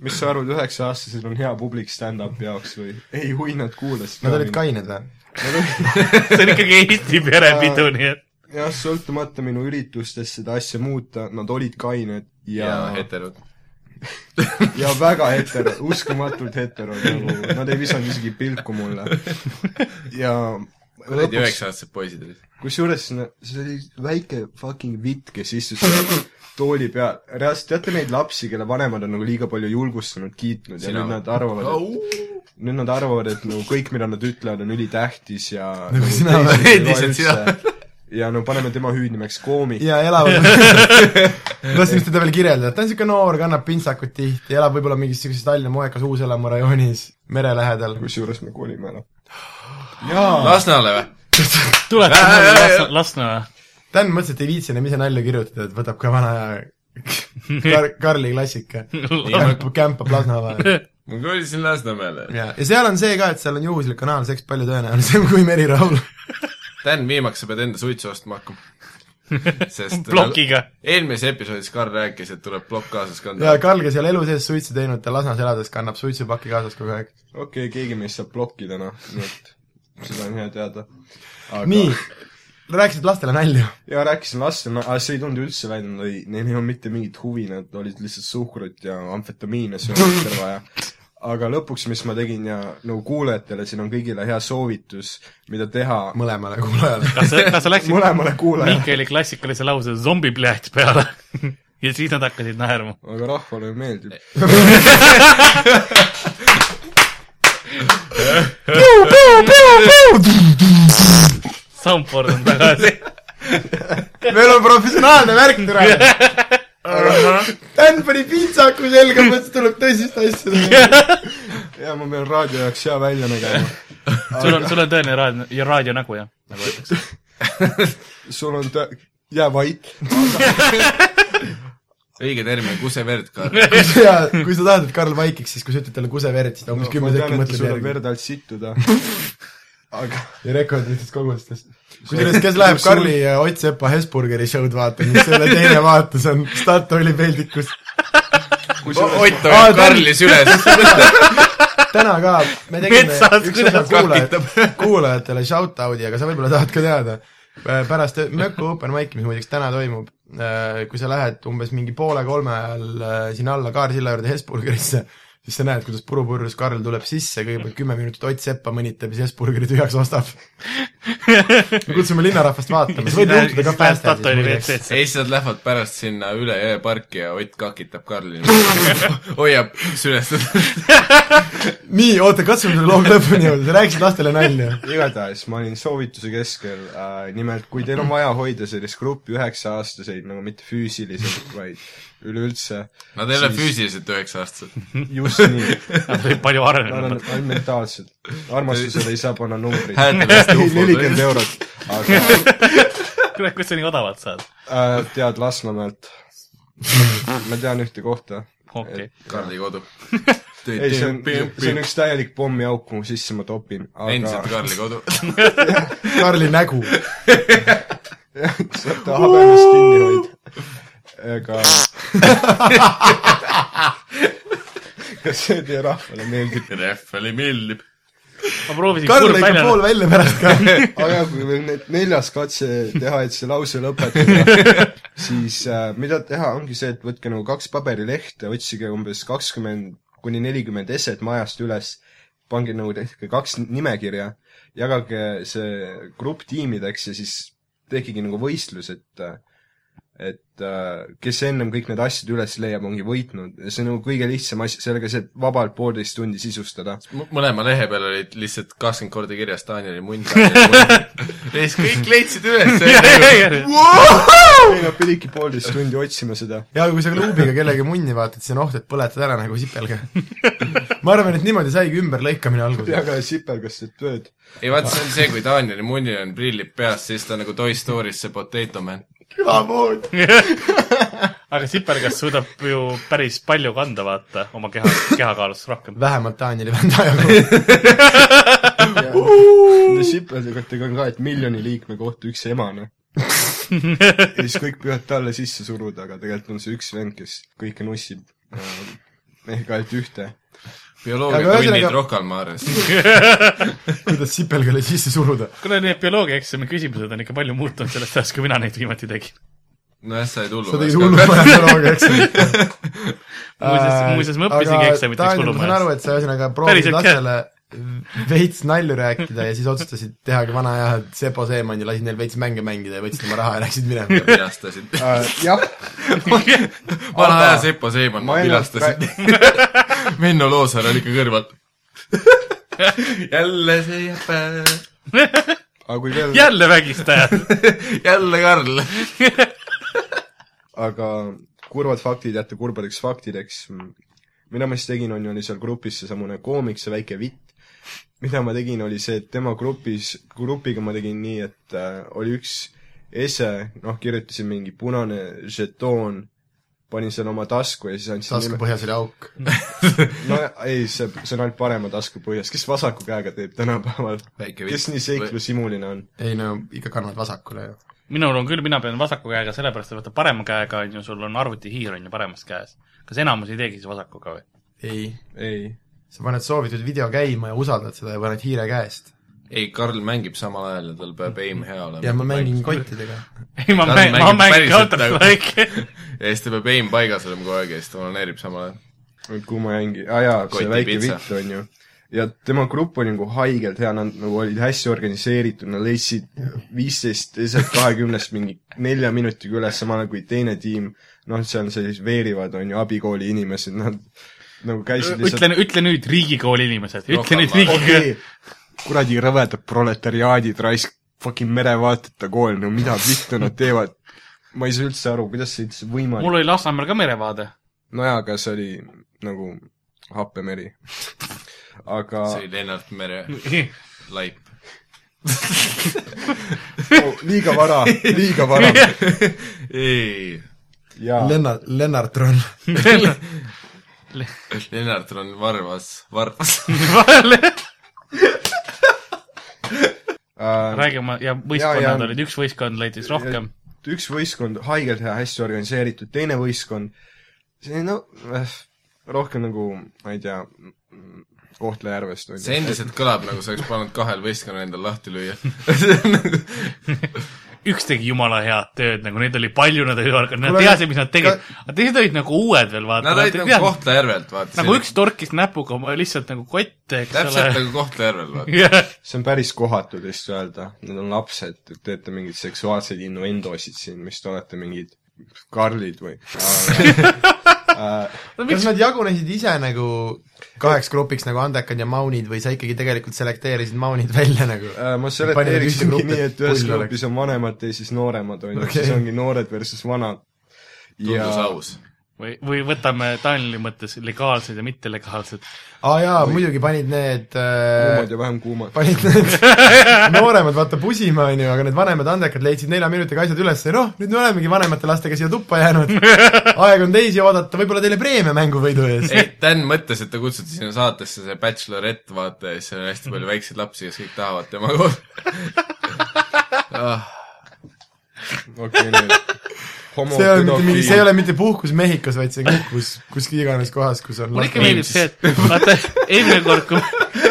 [SPEAKER 5] mis sa arvad , üheksa-aastasel on hea publik stand-up'i jaoks või ? ei , hui nad kuulasid .
[SPEAKER 2] Nad olid . kained või ?
[SPEAKER 3] see on ikkagi Eesti perepidu , nii et
[SPEAKER 5] jah , sõltumata minu üritustest seda asja muuta , nad olid kained ja
[SPEAKER 4] ja , heterod .
[SPEAKER 5] ja väga hetero , uskumatult hetero nagu , nad ei visanud isegi pilku mulle . ja
[SPEAKER 4] kuradi
[SPEAKER 5] lõpuks ,
[SPEAKER 4] üheksa-aastased poisid olid .
[SPEAKER 5] kusjuures sinna- see oli väike fucking vitt , kes istus seal tooli peal , reaalselt teate neid lapsi , kelle vanemad on nagu liiga palju julgustanud , kiitnud ja
[SPEAKER 4] Sina
[SPEAKER 5] nüüd
[SPEAKER 4] või?
[SPEAKER 5] nad arvavad , et nüüd nad arvavad , et nagu kõik , mida nad ütlevad , on ülitähtis ja
[SPEAKER 2] Nagu sina või?
[SPEAKER 5] teised ei loe
[SPEAKER 4] Endiselt sina.
[SPEAKER 5] üldse. ja no paneme tema hüüdnimeks koomik .
[SPEAKER 2] ja elavad lasin seda veel kirjeldada , ta on niisugune noor , kannab pintsakut tihti , elab võib-olla mingis niisuguses Tallinna moekas Uus-Elamu rajoonis , mere lähedal .
[SPEAKER 5] kusjuures me kolime ära .
[SPEAKER 4] Lasnamäele või ?
[SPEAKER 3] tuleta
[SPEAKER 4] Äh,
[SPEAKER 3] mulle
[SPEAKER 4] äh, äh.
[SPEAKER 3] Lasna- Lasnamäe .
[SPEAKER 2] Dan mõtles , et ei viitsi enam ise nalja kirjutada , et võtab ka vana Kar- , Karli klassika . kämpab , kämpab Lasnamäel .
[SPEAKER 4] ma kolisin Lasnamäele .
[SPEAKER 2] ja , ja seal on see ka , et seal on juhuslik kanaalseks palju tõenäolisem [LAUGHS] kui Meri Raul .
[SPEAKER 4] Dan , viimaks sa pead enda suitsu
[SPEAKER 5] [LAUGHS]
[SPEAKER 4] ostma hakkama . sest äh,
[SPEAKER 3] äh, plokiga .
[SPEAKER 4] eelmises episoodis Karl rääkis , et tuleb plokk kaasas kanda
[SPEAKER 2] ja . Karl , kes ei ole elu sees suitsu teinud , ta Lasnas elades kannab suitsupaki kaasas kogu aeg .
[SPEAKER 5] okei okay, , keegi meist saab blokkida , noh , nii et seda on hea teada .
[SPEAKER 2] nii , rääkisid lastele nalju .
[SPEAKER 5] ja rääkisin lastele , aga see ei tulnud üldse välja , nad ei , neil ei olnud mitte mingit huvi , nad olid lihtsalt suhkrut ja amfetamiine söönud terve aja . aga lõpuks , mis ma tegin ja nagu kuulajatele , siin on kõigile hea soovitus , mida teha
[SPEAKER 2] mõlemale kuulajale .
[SPEAKER 3] kas sa , kas sa läksid
[SPEAKER 5] mõlemale kuulajale ,
[SPEAKER 3] Mihkeli klassikalise lause zombi pläht peale [LAUGHS] ja siis nad hakkasid naerma .
[SPEAKER 5] aga rahvale meeldib .
[SPEAKER 3] Soundboard on [LAUGHS] tagasi .
[SPEAKER 2] meil on professionaalne värk täna . Dan pani pintsaku selga , mõtles , et tuleb tõsist asja teha .
[SPEAKER 5] [LAUGHS] ja ma pean raadio jaoks hea välja nägema .
[SPEAKER 3] sul on , sul on tõeline raadio , ja raadionägu jah , nagu öeldakse .
[SPEAKER 5] sul on tõ- , jää vait .
[SPEAKER 4] õige termin , kuseverd ,
[SPEAKER 5] [LAUGHS]
[SPEAKER 4] Karl .
[SPEAKER 2] [LAUGHS] ja kui sa tahad , et Karl vaikiks , siis kui sa ütled talle kuseverd , siis ta umbes kümme sekki mõtleb
[SPEAKER 5] suudab
[SPEAKER 2] järgi .
[SPEAKER 5] verd alt sittuda . aga
[SPEAKER 2] ja rekorditest kogustest . kusjuures , kes läheb Karli ja Ott Sepa Hesburgeri show'd vaatama , siis selle teine vaatus on Statoili peldikus .
[SPEAKER 4] Ott
[SPEAKER 2] Aa,
[SPEAKER 4] hoiab Karli süles .
[SPEAKER 5] [LAUGHS]
[SPEAKER 2] täna ka me tegime
[SPEAKER 3] Metsas,
[SPEAKER 2] üks
[SPEAKER 3] kuidas
[SPEAKER 2] osa kuulaja-
[SPEAKER 3] [LAUGHS]
[SPEAKER 2] kuulajatele shout-out'i , aga sa võib-olla tahad ka teada . pärast Mökku Open Mic'i , mis muideks täna toimub , kui sa lähed umbes mingi poole kolme ajal äh, sinna alla Kaarsilla juurde Hesburgerisse , siis sa näed , kuidas purupurjus Karl tuleb sisse , kõigepealt kümme minutit Ott Seppa mõnitab ja siis Hesburgeri tühjaks ostab . me kutsume linnarahvast vaatama , see võib juhtuda ka päästjal siis muideks .
[SPEAKER 4] ja siis nad lähevad pärast sinna üle jõe parki ja Ott kakitab Karli . [LAUGHS] hoiab süles .
[SPEAKER 2] nii , oota , katsume selle loo lõpuni jõuda , sa rääkisid lastele nalja .
[SPEAKER 5] igatahes ma olin soovituse keskel äh, , nimelt kui teil on vaja hoida sellist gruppi üheksa-aastaseid nagu mitte füüsiliselt , vaid üleüldse
[SPEAKER 4] Nad ei ole
[SPEAKER 5] Siis-
[SPEAKER 4] füüsiliselt üheksa-aastased .
[SPEAKER 5] just nii ,
[SPEAKER 3] Nad olid palju
[SPEAKER 5] nad
[SPEAKER 3] arenenud
[SPEAKER 5] on . ainult mentaalsed . armastusele ei saa panna numbreid .
[SPEAKER 4] Häältelast ufod.
[SPEAKER 5] nelikümmend eurot , aga
[SPEAKER 3] kuule , kust sa nii odavalt saad ?
[SPEAKER 5] äh, tead Lasnamäelt , ma tean ühte kohta .
[SPEAKER 3] okei .
[SPEAKER 4] Karli kodu .
[SPEAKER 5] [LAUGHS] ei , see on , see on üks täielik pommiauk , kuhu sisse ma topin ,
[SPEAKER 4] endiselt
[SPEAKER 5] aga
[SPEAKER 4] Karli
[SPEAKER 5] [LAUGHS]
[SPEAKER 4] kodu .
[SPEAKER 2] Karli nägu
[SPEAKER 5] saab ta habemest kinni hoida . ega [LAUGHS] kas see teie rahvale meeldib ?
[SPEAKER 4] Rehveli millib .
[SPEAKER 3] ma proovisin
[SPEAKER 2] Karl
[SPEAKER 3] kurb
[SPEAKER 2] lõikab
[SPEAKER 3] välja [LAUGHS]
[SPEAKER 2] pool . välja pärast ka .
[SPEAKER 5] aga kui veel nüüd neljas katse teha , et see lause lõpetada , siis äh, mida teha , ongi see , et võtke nagu kaks paberilehte , otsige umbes kakskümmend kuni nelikümmend eset majast üles , pange nagu tehke kaks nimekirja , jagage see grupp tiimideks ja siis tehkegi nagu võistlus , et äh, et äh, kes ennem kõik need asjad üles leiab , ongi võitnud . see on nagu kõige lihtsam asi , sellega saab vabalt poolteist tundi sisustada .
[SPEAKER 4] mõlema lehe peal olid lihtsalt kakskümmend korda kirjas Danieli mund .
[SPEAKER 2] [LAUGHS]
[SPEAKER 4] ja siis kõik leidsid üles . nagu,
[SPEAKER 5] ei , nad pididki poolteist tundi otsima seda
[SPEAKER 2] ja kui sa luubiga kellegi munni vaatad , siis on oht , et põletad ära nagu sipelga . ma arvan , et niimoodi saigi ümberlõikamine alguse .
[SPEAKER 5] peaga ja sipelgasse tööd .
[SPEAKER 4] ei vaata , see on see , kui Danieli munnil on prillid peas , siis ta on nagu Toy Story's see potato man .
[SPEAKER 2] külapood .
[SPEAKER 3] aga sipelgas suudab ju päris palju kanda , vaata , oma keha , kehakaalust rohkem .
[SPEAKER 2] vähemalt Danieli venda jagu .
[SPEAKER 5] Nende sipelgatega on ka , et miljoni liikme kohta üks emane . ja siis kõik püüavad talle sisse suruda , aga tegelikult on see üks vend , kes kõike nussib . ehk ainult ühte .
[SPEAKER 2] Aga
[SPEAKER 4] bioloogia
[SPEAKER 2] ühesõnaga-
[SPEAKER 4] tunnid Rocca al Mares .
[SPEAKER 2] kuidas sipelgale sisse suruda .
[SPEAKER 3] kuule , need bioloogiaeksami küsimused on ikka palju muutunud sellest ajast , kui mina neid viimati tegin . [LAUGHS]
[SPEAKER 4] nojah , sa ei tulnud .
[SPEAKER 2] sa tegid hullumaja bioloogia eksamit .
[SPEAKER 3] muuseas , muuseas ma õppisingi eksamit ,
[SPEAKER 2] ma
[SPEAKER 3] eks
[SPEAKER 2] saan aru ,
[SPEAKER 3] hullumajas .
[SPEAKER 2] et sa ühesõnaga proovisid
[SPEAKER 3] Päriselt ka.
[SPEAKER 2] lastele veits nalju rääkida ja siis otsustasid tehagi vana hea Sepo Seemanni , lasid neil veits mänge mängida ja võtsid oma raha ja läksid
[SPEAKER 3] [LAUGHS]
[SPEAKER 2] minema .
[SPEAKER 4] [LAUGHS] vilastasid .
[SPEAKER 5] Äh, jah ,
[SPEAKER 4] vana
[SPEAKER 5] Aga
[SPEAKER 4] aja Sepo Seeman
[SPEAKER 5] ma ennast
[SPEAKER 4] vilastasid . Venno Loosaar oli ikka
[SPEAKER 2] [LAUGHS]
[SPEAKER 4] kõrval . jälle see jäpe ,
[SPEAKER 5] aga kui veel ,
[SPEAKER 3] jälle vägistajad .
[SPEAKER 4] jälle Karl .
[SPEAKER 5] aga kurvad faktid jätta kurbadeks faktideks . mida ma siis tegin , on ju , oli seal grupis seesamune koomik , see väike vitt . mida ma tegin , oli see , et tema grupis , grupiga ma tegin nii , et äh, oli üks ese , noh , kirjutasin mingi punane žetoon , panin selle oma tasku ja siis andsin
[SPEAKER 2] tasku põhjas oli auk .
[SPEAKER 5] no ei , see , see on ainult parema tasku põhjas , kes vasaku käega teeb tänapäeval ?
[SPEAKER 4] väike
[SPEAKER 5] kes nii seiklusimuline on ?
[SPEAKER 2] ei no ikka kannad vasakule ju .
[SPEAKER 3] minul on küll , mina pean vasaku käega , sellepärast et vaata parema käega on ju , sul on arvutihiir on ju paremas käes . kas enamus ei teegi siis vasakuga või ? [LAUGHS]
[SPEAKER 2] ei ,
[SPEAKER 5] ei .
[SPEAKER 2] sa paned soovitud video käima ja usaldad seda ja paned hiire käest .
[SPEAKER 4] ei , Karl mängib samal ajal ja tal peab aim hea olema .
[SPEAKER 2] ja ma mängin . kottidega .
[SPEAKER 3] ei , ma
[SPEAKER 4] Nad
[SPEAKER 3] mängin , ma
[SPEAKER 4] mängivad
[SPEAKER 3] mängin
[SPEAKER 4] päriselt
[SPEAKER 3] nagu- Counter-Strike'i . [LAUGHS]
[SPEAKER 4] ja siis ta peab aim paigas olema kogu aeg ja siis ta onaneerib samal ajal .
[SPEAKER 5] nüüd kuhu ma jäingi , aa jaa , see
[SPEAKER 4] Koti
[SPEAKER 5] väike
[SPEAKER 4] pitsa.
[SPEAKER 5] vitt on ju . ja tema grupp oli nagu haigelt hea , nad nagu olid hästi organiseeritud , nad leidsid viisteist eset kahekümnest mingi nelja minutiga üles , samal ajal kui teine tiim , noh , seal sellised veerivad , on ju , abikooli inimesed , nad nagu käisid lihtsalt
[SPEAKER 3] ütle , ütle nüüd riigikooli inimesed , ütle
[SPEAKER 4] Rohkem
[SPEAKER 3] nüüd
[SPEAKER 4] ma-
[SPEAKER 3] riigikooli
[SPEAKER 5] okei , [LAUGHS] kuradi rõvedad proletariaadid raisk , fucking merevaateta kool , no mida vittu nad teevad ? ma ei saa üldse aru , kuidas see üldse võimalik
[SPEAKER 3] [LAUGHS] mul oli Lasnamäel ka [LAUGHS] merevaade .
[SPEAKER 5] nojaa , aga see oli nagu happemeri . aga
[SPEAKER 4] see oli Lennart Mere laip .
[SPEAKER 5] oh, liiga vara , liiga
[SPEAKER 3] [LAUGHS]
[SPEAKER 5] vara
[SPEAKER 4] ei ,
[SPEAKER 5] ja
[SPEAKER 2] Lennart , Lennartron .
[SPEAKER 4] Lennart on varvas , varvas .
[SPEAKER 5] äh,
[SPEAKER 3] räägi oma , ja
[SPEAKER 5] Jaa,
[SPEAKER 3] võistkonnad
[SPEAKER 5] jaa.
[SPEAKER 3] olid , üks võistkond leidis rohkem .
[SPEAKER 5] äh, üks võistkond haigelt hea , hästi organiseeritud , teine võistkond , see no äh, rohkem nagu , ma ei tea , Kohtla-Järvest on
[SPEAKER 4] see
[SPEAKER 5] ju .
[SPEAKER 4] endiselt kõlab nagu sa oleks pannud kahel võistkonnal endal lahti
[SPEAKER 3] [LAUGHS]
[SPEAKER 4] lüüa .
[SPEAKER 3] üks tegi jumala head tööd , nagu neid oli palju , nad olid organ- , nad
[SPEAKER 2] Kuule,
[SPEAKER 3] teadsid , mis nad tegid . aga teised olid nagu uued veel , vaata .
[SPEAKER 4] Nad olid nagu . Kohtla-Järvelt , vaata .
[SPEAKER 3] nagu üks torkis näpuga oma lihtsalt nagu kotte , eks
[SPEAKER 4] täpselt
[SPEAKER 3] ole .
[SPEAKER 4] nagu Kohtla-Järvel ,
[SPEAKER 3] [LAUGHS]
[SPEAKER 4] vaata .
[SPEAKER 5] see on päris kohatu teist öelda , need on lapsed , te teete mingeid seksuaalseid innuendosid siin , mis te olete mingid Karlid
[SPEAKER 3] [LAUGHS]
[SPEAKER 5] või ? Äh,
[SPEAKER 2] kas nad jagunesid ise nagu kaheks grupiks nagu andekad ja maunid või sa ikkagi tegelikult selekteerisid maunid välja nagu ?
[SPEAKER 5] Äh, ma
[SPEAKER 2] Panid ühte
[SPEAKER 5] seleteeriksingi
[SPEAKER 2] gruppi,
[SPEAKER 5] nii , et ühes
[SPEAKER 2] pull oleks.
[SPEAKER 5] grupis on vanemad , teises nooremad on ju
[SPEAKER 2] Okei.
[SPEAKER 5] okay. , siis ongi noored versus vanad .
[SPEAKER 4] tundus aus .
[SPEAKER 3] või , või võtame Taneli mõttes legaalsed ja mittelegaalsed .
[SPEAKER 2] aa jaa , muidugi panid need äh,
[SPEAKER 5] kuumad ja vähem kuumad .
[SPEAKER 2] panid need nooremad vaata pusima , onju , aga need vanemad andekad leidsid nelja minutiga asjad üles ja noh , nüüd me olemegi vanemate lastega siia tuppa jäänud . aeg on teisi oodata , võib-olla teile preemia mänguvõidu ees .
[SPEAKER 4] ei , Dan mõtles , et ta kutsuti sinna saatesse see Bachelorette , vaata , ja siis seal on hästi
[SPEAKER 3] Mhm.
[SPEAKER 4] palju väikseid lapsi , kes kõik tahavad tema kohta ah, .
[SPEAKER 5] okei , nüüd . homo
[SPEAKER 2] [LAUGHS] see ei ole mitte mingi , see ei
[SPEAKER 5] pedofiil .
[SPEAKER 2] ole mitte puhkus Mehhikos , vaid see on puhkus kuskil iganes kohas , kus on
[SPEAKER 3] mulle ikka meeldib see , et
[SPEAKER 4] [LAUGHS]
[SPEAKER 3] vaata , eelmine kord , kui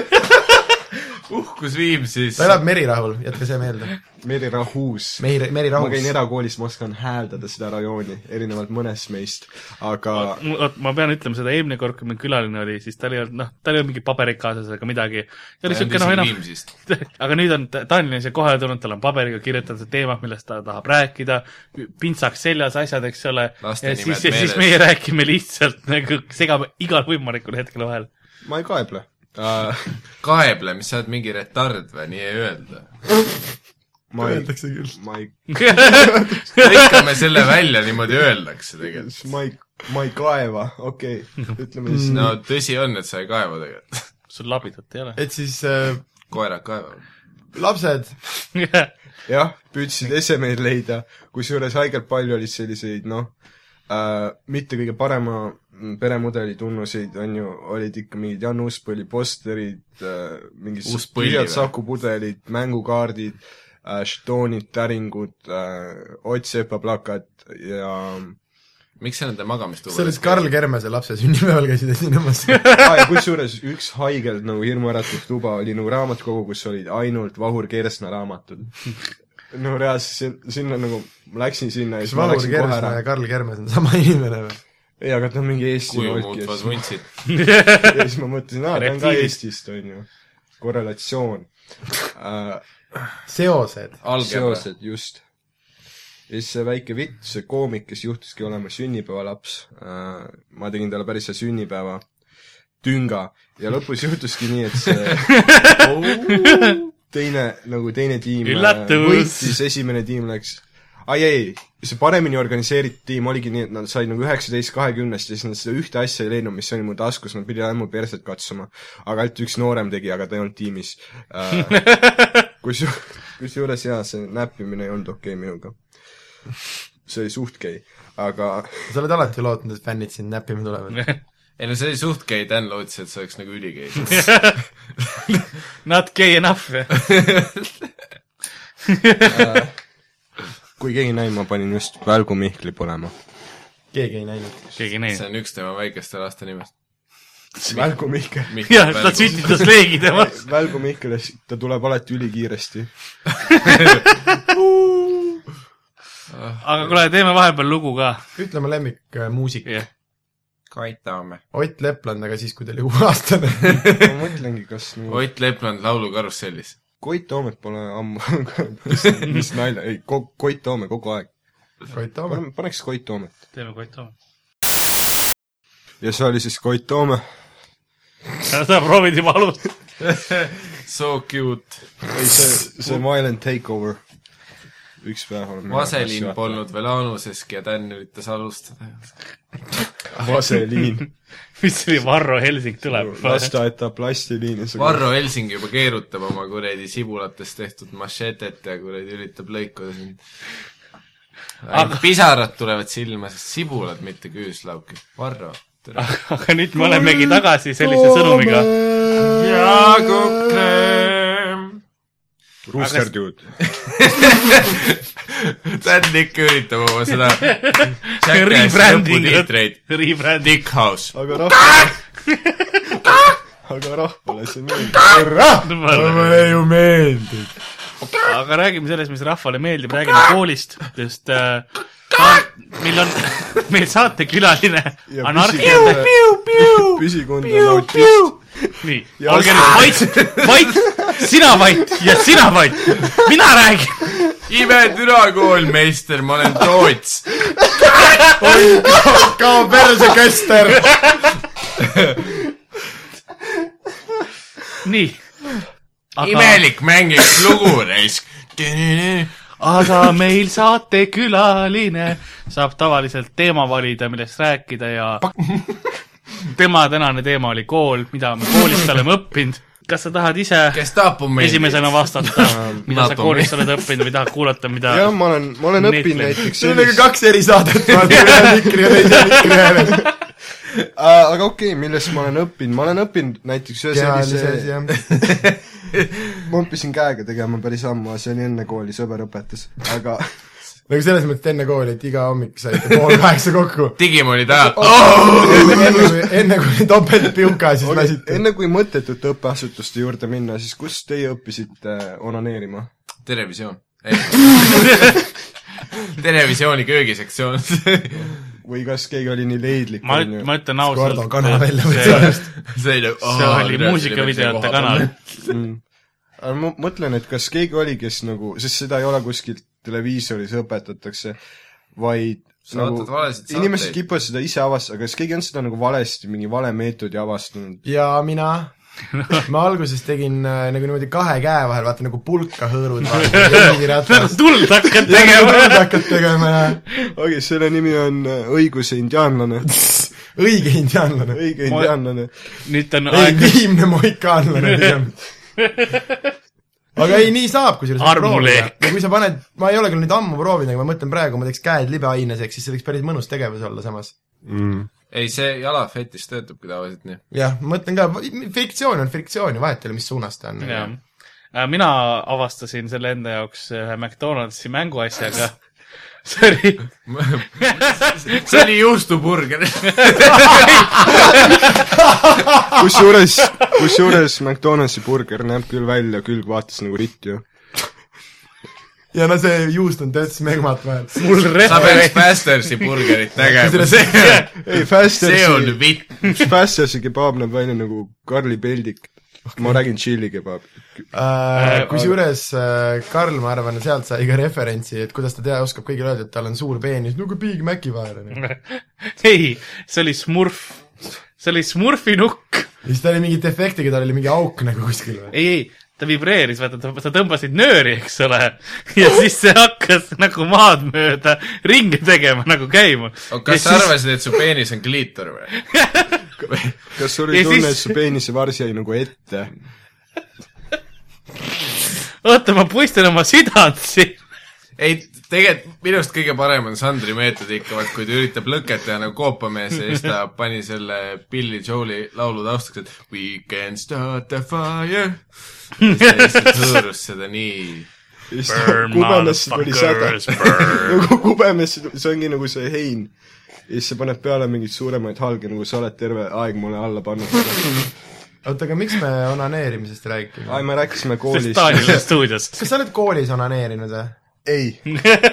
[SPEAKER 4] uhkus Viimsis .
[SPEAKER 2] ta elab merirahul , jätke see meelde .
[SPEAKER 5] Meri Rahus .
[SPEAKER 2] Meri ,
[SPEAKER 5] ma
[SPEAKER 2] merirahus .
[SPEAKER 5] käin erakoolis , ma oskan hääldada seda rajooni , erinevalt mõnest meist , aga
[SPEAKER 3] vot ma pean ütlema seda , eelmine kord , kui meil külaline oli , siis tal ei olnud , noh , tal ei olnud mingit paberit kaasas ega midagi . ta oli siuke noh , enam ,
[SPEAKER 4] Äh, Viimsist .
[SPEAKER 3] [LAUGHS] aga nüüd on , Tanel on siia kohale tulnud , tal on paberiga kirjutatud teemad , millest ta tahab rääkida , pintsaks seljas asjad , eks ole . ja
[SPEAKER 4] Laste nimed
[SPEAKER 3] siis , ja siis
[SPEAKER 4] meeles.
[SPEAKER 3] meie räägime lihtsalt nagu segame igal võimalikul hetkel
[SPEAKER 4] [LAUGHS]
[SPEAKER 3] vahel .
[SPEAKER 5] ma ei kaeble uh, .
[SPEAKER 4] kaeble , mis sa oled mingi retard või , nii ei öelda .
[SPEAKER 5] ma ei ,
[SPEAKER 2] öeldakse küll .
[SPEAKER 5] ma ei ,
[SPEAKER 4] lõikame selle välja , niimoodi öeldakse tegelikult .
[SPEAKER 5] ma ei , ma ei kaeva , okei okay. , ütleme
[SPEAKER 2] Mm.
[SPEAKER 5] siis
[SPEAKER 4] no
[SPEAKER 5] no. .
[SPEAKER 4] tõsi on , et sa ei kaeva tegelikult .
[SPEAKER 3] sul labidat ei ole ?
[SPEAKER 2] et siis äh,
[SPEAKER 4] koerad kaevavad .
[SPEAKER 2] lapsed ,
[SPEAKER 5] jah , püüdsid esemeid leida , kusjuures haigelt palju oli selliseid , noh , äh, mitte kõige parema peremudeli tunnuseid on ju , olid ikka mingid Jan Uuspõlli posterid äh, , mingid
[SPEAKER 4] Uuspõlli
[SPEAKER 5] tühjad
[SPEAKER 4] või?
[SPEAKER 5] sakupudelid , mängukaardid äh, , žetoonid , täringud äh, , Ott Sepa plakat ja
[SPEAKER 4] miks sa nende magamistuba
[SPEAKER 2] see oli Karl Kermese lapse sünnipäeval käisid esinemas .
[SPEAKER 5] [LAUGHS] ah, , ja kusjuures üks haigelt nagu hirmuäratav tuba oli nagu raamatukogu , kus olid ainult Vahur Kersna raamatud . no reaalselt sin- sinna nagu , ma läksin sinna ja siis ma
[SPEAKER 2] Valur
[SPEAKER 5] läksin kohe
[SPEAKER 2] Kersna
[SPEAKER 5] ära
[SPEAKER 2] ja . Karl Kermes on sama inimene või ?
[SPEAKER 5] ei , aga ta on mingi Eesti
[SPEAKER 4] kuju
[SPEAKER 5] nolk ja [LAUGHS]
[SPEAKER 4] muutvad
[SPEAKER 5] siis
[SPEAKER 4] vuntsid .
[SPEAKER 5] ja siis ma mõtlesin , aa , ta on ka
[SPEAKER 3] Reptiilid.
[SPEAKER 5] Eestist , on ju . korrelatsioon äh, ,
[SPEAKER 2] seosed .
[SPEAKER 4] algebra .
[SPEAKER 5] seosed , just . ja siis see väike vitt , see koomik , kes juhtuski olema sünnipäevalaps äh, , ma tegin talle päris hea sünnipäeva tünga ja lõpus juhtuski nii , et see Oh! teine , nagu teine tiim äh,
[SPEAKER 3] Üllatus!
[SPEAKER 5] võitis , esimene tiim läks ai ei , see paremini organiseeritud tiim oligi nii , et nad said nagu üheksateist kahekümnest ja siis nad seda ühte asja ei leidnud , mis oli mu taskus , nad pidid ainult mu perset katsuma . aga ainult üks noorem tegi , aga ta ei olnud tiimis äh, . kus , kusjuures jaa , see näppimine ei olnud okei okay minuga . see oli suht gei , aga
[SPEAKER 2] sa oled alati lootnud , et fännid sind näppima tulevad .
[SPEAKER 3] [LAUGHS]
[SPEAKER 4] ei no see oli suht gei , Dan lootis , et see oleks nagu üligei .
[SPEAKER 3] [LAUGHS]
[SPEAKER 2] [LAUGHS]
[SPEAKER 3] Not gay enough .
[SPEAKER 5] kui keegi näinud , ma panin just Välgu Mihkli põlema .
[SPEAKER 2] keegi ei näinud .
[SPEAKER 3] keegi ei
[SPEAKER 4] see
[SPEAKER 3] näinud .
[SPEAKER 4] on üks tema väikeste laste nimest .
[SPEAKER 5] Välgu Mihkel .
[SPEAKER 3] jah , ta sütitas leegi temast .
[SPEAKER 5] Välgu Mihkel , ta tuleb alati ülikiiresti .
[SPEAKER 4] Ah.
[SPEAKER 3] aga kuule , teeme vahepeal lugu ka .
[SPEAKER 2] ütle oma lemmikmuusik .
[SPEAKER 3] jah ,
[SPEAKER 4] Kait Tamme .
[SPEAKER 2] Ott Lepland , aga siis , kui ta oli kuueaastane . [LAUGHS]
[SPEAKER 5] ma mõtlengi , kas nagu
[SPEAKER 4] Ott Lepland Laulu karussellis .
[SPEAKER 5] Koit Toomet pole ammu , [LAUGHS] mis, mis nalja , ei , Koit Toome kogu aeg .
[SPEAKER 2] Koit Toome .
[SPEAKER 5] paneme , paneks Koit Toomet .
[SPEAKER 3] teeme Koit Toome .
[SPEAKER 5] ja see oli siis Koit Toome .
[SPEAKER 3] sa proovid juba alustada .
[SPEAKER 4] So cute .
[SPEAKER 5] ei , see , see Violent Takeover . üks päev
[SPEAKER 2] Mm,
[SPEAKER 5] oleme .
[SPEAKER 4] vaselin . polnud veel anuseski ja Dan üritas alustada .
[SPEAKER 5] [LAUGHS] vaseliin .
[SPEAKER 3] [LAUGHS] mis see oli , Varro Helsing tuleb .
[SPEAKER 5] lasteaeda plastiliin .
[SPEAKER 4] Varro Helsing juba keerutab oma kuradi sibulatest tehtud machetet ja kuradi üritab lõikuda sind . Aga... pisarad tulevad silma , sest sibulad , mitte küüslaukid . Varro , tere .
[SPEAKER 3] aga nüüd me olemegi tagasi sellise sõnumiga .
[SPEAKER 4] Jaagu Kreem .
[SPEAKER 5] Rooster Dude .
[SPEAKER 4] Dan ikka üritab oma seda
[SPEAKER 3] Rebranding.
[SPEAKER 4] lõputiitreid .
[SPEAKER 3] Rebrandi .
[SPEAKER 4] Dick House .
[SPEAKER 2] [LAUGHS]
[SPEAKER 5] aga rahvale aga rahvale see meeldib .
[SPEAKER 2] mulle ju meeldib .
[SPEAKER 3] aga räägime sellest , mis rahvale meeldib , räägime koolist , sest äh, saat- meil on , [LAUGHS] meil saatekülaline
[SPEAKER 5] Ja
[SPEAKER 3] anarhiline ,
[SPEAKER 5] püsikond on autist .
[SPEAKER 3] nii , olge nüüd vait , vait , sina vait ja sina vait , mina räägin .
[SPEAKER 4] imetüna koolmeister , ma olen Toots .
[SPEAKER 2] kao perse , Kester .
[SPEAKER 3] nii .
[SPEAKER 4] imelik mängiks lugu raisk .
[SPEAKER 2] [LAUGHS]
[SPEAKER 3] aga meil saatekülaline saab tavaliselt teema valida , millest rääkida ja tema tänane teema oli kool , mida me koolist oleme õppinud . kas sa tahad ise
[SPEAKER 4] kes tapab meid ?
[SPEAKER 3] esimesena vastata , mida sa
[SPEAKER 4] NATO
[SPEAKER 3] koolis oled õppinud või tahad kuulata , mida
[SPEAKER 5] jah , ma olen , ma olen
[SPEAKER 3] Need
[SPEAKER 5] õppinud
[SPEAKER 3] meeldib.
[SPEAKER 5] näiteks
[SPEAKER 2] sul on nagu ikka kaks eri saadet , vaata ühe mikri ja teise mikri
[SPEAKER 5] [LAUGHS]
[SPEAKER 2] hääle .
[SPEAKER 5] Äh, aga okei okay, , millest ma olen õppinud , ma olen õppinud näiteks ühe sellise ,
[SPEAKER 2] jah .
[SPEAKER 5] ma õppisin käega tegema päris ammu , see oli enne kooli , sõber õpetas , aga
[SPEAKER 2] nagu selles mõttes , et enne kooli , et iga hommik saite pool kaheksa [LAUGHS] kokku .
[SPEAKER 4] digimonid ajab oh, .
[SPEAKER 2] enne kui , enne kui [LAUGHS] oli topeltpilka , siis
[SPEAKER 5] oli,
[SPEAKER 2] lasite .
[SPEAKER 5] enne kui mõttetute õppeasutuste juurde minna , siis kus teie õppisite onaneerima ?
[SPEAKER 4] Oh, televisioon . [LAUGHS] televisiooni köögisektsioon . [LAUGHS]
[SPEAKER 5] või kas keegi oli nii leidlik ,
[SPEAKER 3] ma , ma ütlen ausalt
[SPEAKER 2] Gordo , kana välja
[SPEAKER 3] see,
[SPEAKER 2] võtsid .
[SPEAKER 4] see oli, nagu,
[SPEAKER 3] see oli muusikavideote kanal .
[SPEAKER 5] mm. . aga ma mõtlen , et kas keegi oli , kes nagu , sest seda ei ole kuskil televiisoris õpetatakse , vaid nagu
[SPEAKER 4] Sa vaatad valesid saateid.
[SPEAKER 5] inimesed kipuvad seda ise avastama , aga kas keegi on seda nagu valesti , mingi vale meetodi avastanud ?
[SPEAKER 2] ja mina , ma alguses tegin äh, nagu niimoodi kahe käe vahel , vaata nagu pulka hõõrud , vaata , [LAUGHS] mingi ratas .
[SPEAKER 3] tuld hakkad tegema .
[SPEAKER 2] hakkad tegema ja
[SPEAKER 5] okei , selle nimi on äh, õiguse indiaanlane .
[SPEAKER 2] õige indiaanlane .
[SPEAKER 5] õige
[SPEAKER 3] Ma-
[SPEAKER 5] indiaanlane .
[SPEAKER 3] nüüd on aeg ,
[SPEAKER 2] legitiimne mohikaanlane pigem . aga ei , nii saab , kusjuures .
[SPEAKER 3] Armuleek.
[SPEAKER 2] ja kui sa paned , ma ei ole küll nüüd ammu proovinud , aga ma mõtlen praegu , ma teeks käed libeaineseks , siis see võiks päris mõnus tegevus olla samas .
[SPEAKER 6] mm. .
[SPEAKER 4] ei , see jalafetis töötabki tavaliselt nii . [LAUGHS]
[SPEAKER 2] jah , ma mõtlen ka , friktsioon on friktsioon ja vahet ei ole , mis suunas ta on .
[SPEAKER 3] jah . mina avastasin selle enda jaoks ühe McDonaldsi mänguasjaga . [LAUGHS] see oli ,
[SPEAKER 4] see oli
[SPEAKER 3] [LAUGHS]
[SPEAKER 4] juustuburger .
[SPEAKER 5] kusjuures , kusjuures McDonaldsi burger näeb küll välja külgvaates nagu ritt ju .
[SPEAKER 2] ja no see juust on täitsa megmat vahel .
[SPEAKER 3] mul
[SPEAKER 4] sa peaks
[SPEAKER 3] referents ,
[SPEAKER 4] Fastersi burgerit nägema , see ,
[SPEAKER 5] ei ,
[SPEAKER 4] see on
[SPEAKER 5] Fastersi ,
[SPEAKER 4] vitt .
[SPEAKER 5] Fastersi kebaab näeb välja nagu Karli peldik . ma räägin tšilli kebaab .
[SPEAKER 2] kusjuures äh, Karl , ma arvan , sealt sai ka referentsi , et kuidas ta tea , oskab kõigile öelda , et tal on suur peenis , nagu Big Maci vahel on ju .
[SPEAKER 3] ei , see oli Smurf , see oli Smurfi nukk .
[SPEAKER 2] ja siis tal oli mingi defektiga , tal oli mingi auk nagu kuskil või ?
[SPEAKER 3] ei , ei , ta vibreeris , vaata , ta , sa tõmbasid nööri , eks ole , ja siis see hakkas nagu maad mööda ringi tegema , nagu käima .
[SPEAKER 4] Oh, kas sa arvasid , et su peenis on gliitor või ?
[SPEAKER 5] kas sul
[SPEAKER 3] Ja
[SPEAKER 5] oli tunne ,
[SPEAKER 3] siis-
[SPEAKER 5] et su peenise varsi jäi nagu ette ?
[SPEAKER 3] oota , ma puistan oma sidant siin .
[SPEAKER 4] ei , tegelikult minu arust kõige parem on Sandri meetod ikka , vaat kui ta üritab lõket teha nagu koopamees ja
[SPEAKER 3] [LAUGHS]
[SPEAKER 4] siis ta pani selle Billy Joel'i laulu taustaks , et We can start a fire . ta lihtsalt hõõrus seda nii .
[SPEAKER 5] ja siis ta kubenes , nagu tuli säde . [LAUGHS] nagu kubenes , see ongi nagu see hein . ja siis sa paned peale mingeid suuremaid halge , nagu sa oled terve aeg mulle alla pannud .
[SPEAKER 2] oota , aga miks me onaneerimisest räägime
[SPEAKER 5] ai ,? me rääkisime
[SPEAKER 3] sest [LAUGHS]
[SPEAKER 5] koolis .
[SPEAKER 3] Taanil on stuudios .
[SPEAKER 2] kas sa oled koolis onaneerinud või ?
[SPEAKER 5] ei ,
[SPEAKER 4] ei ,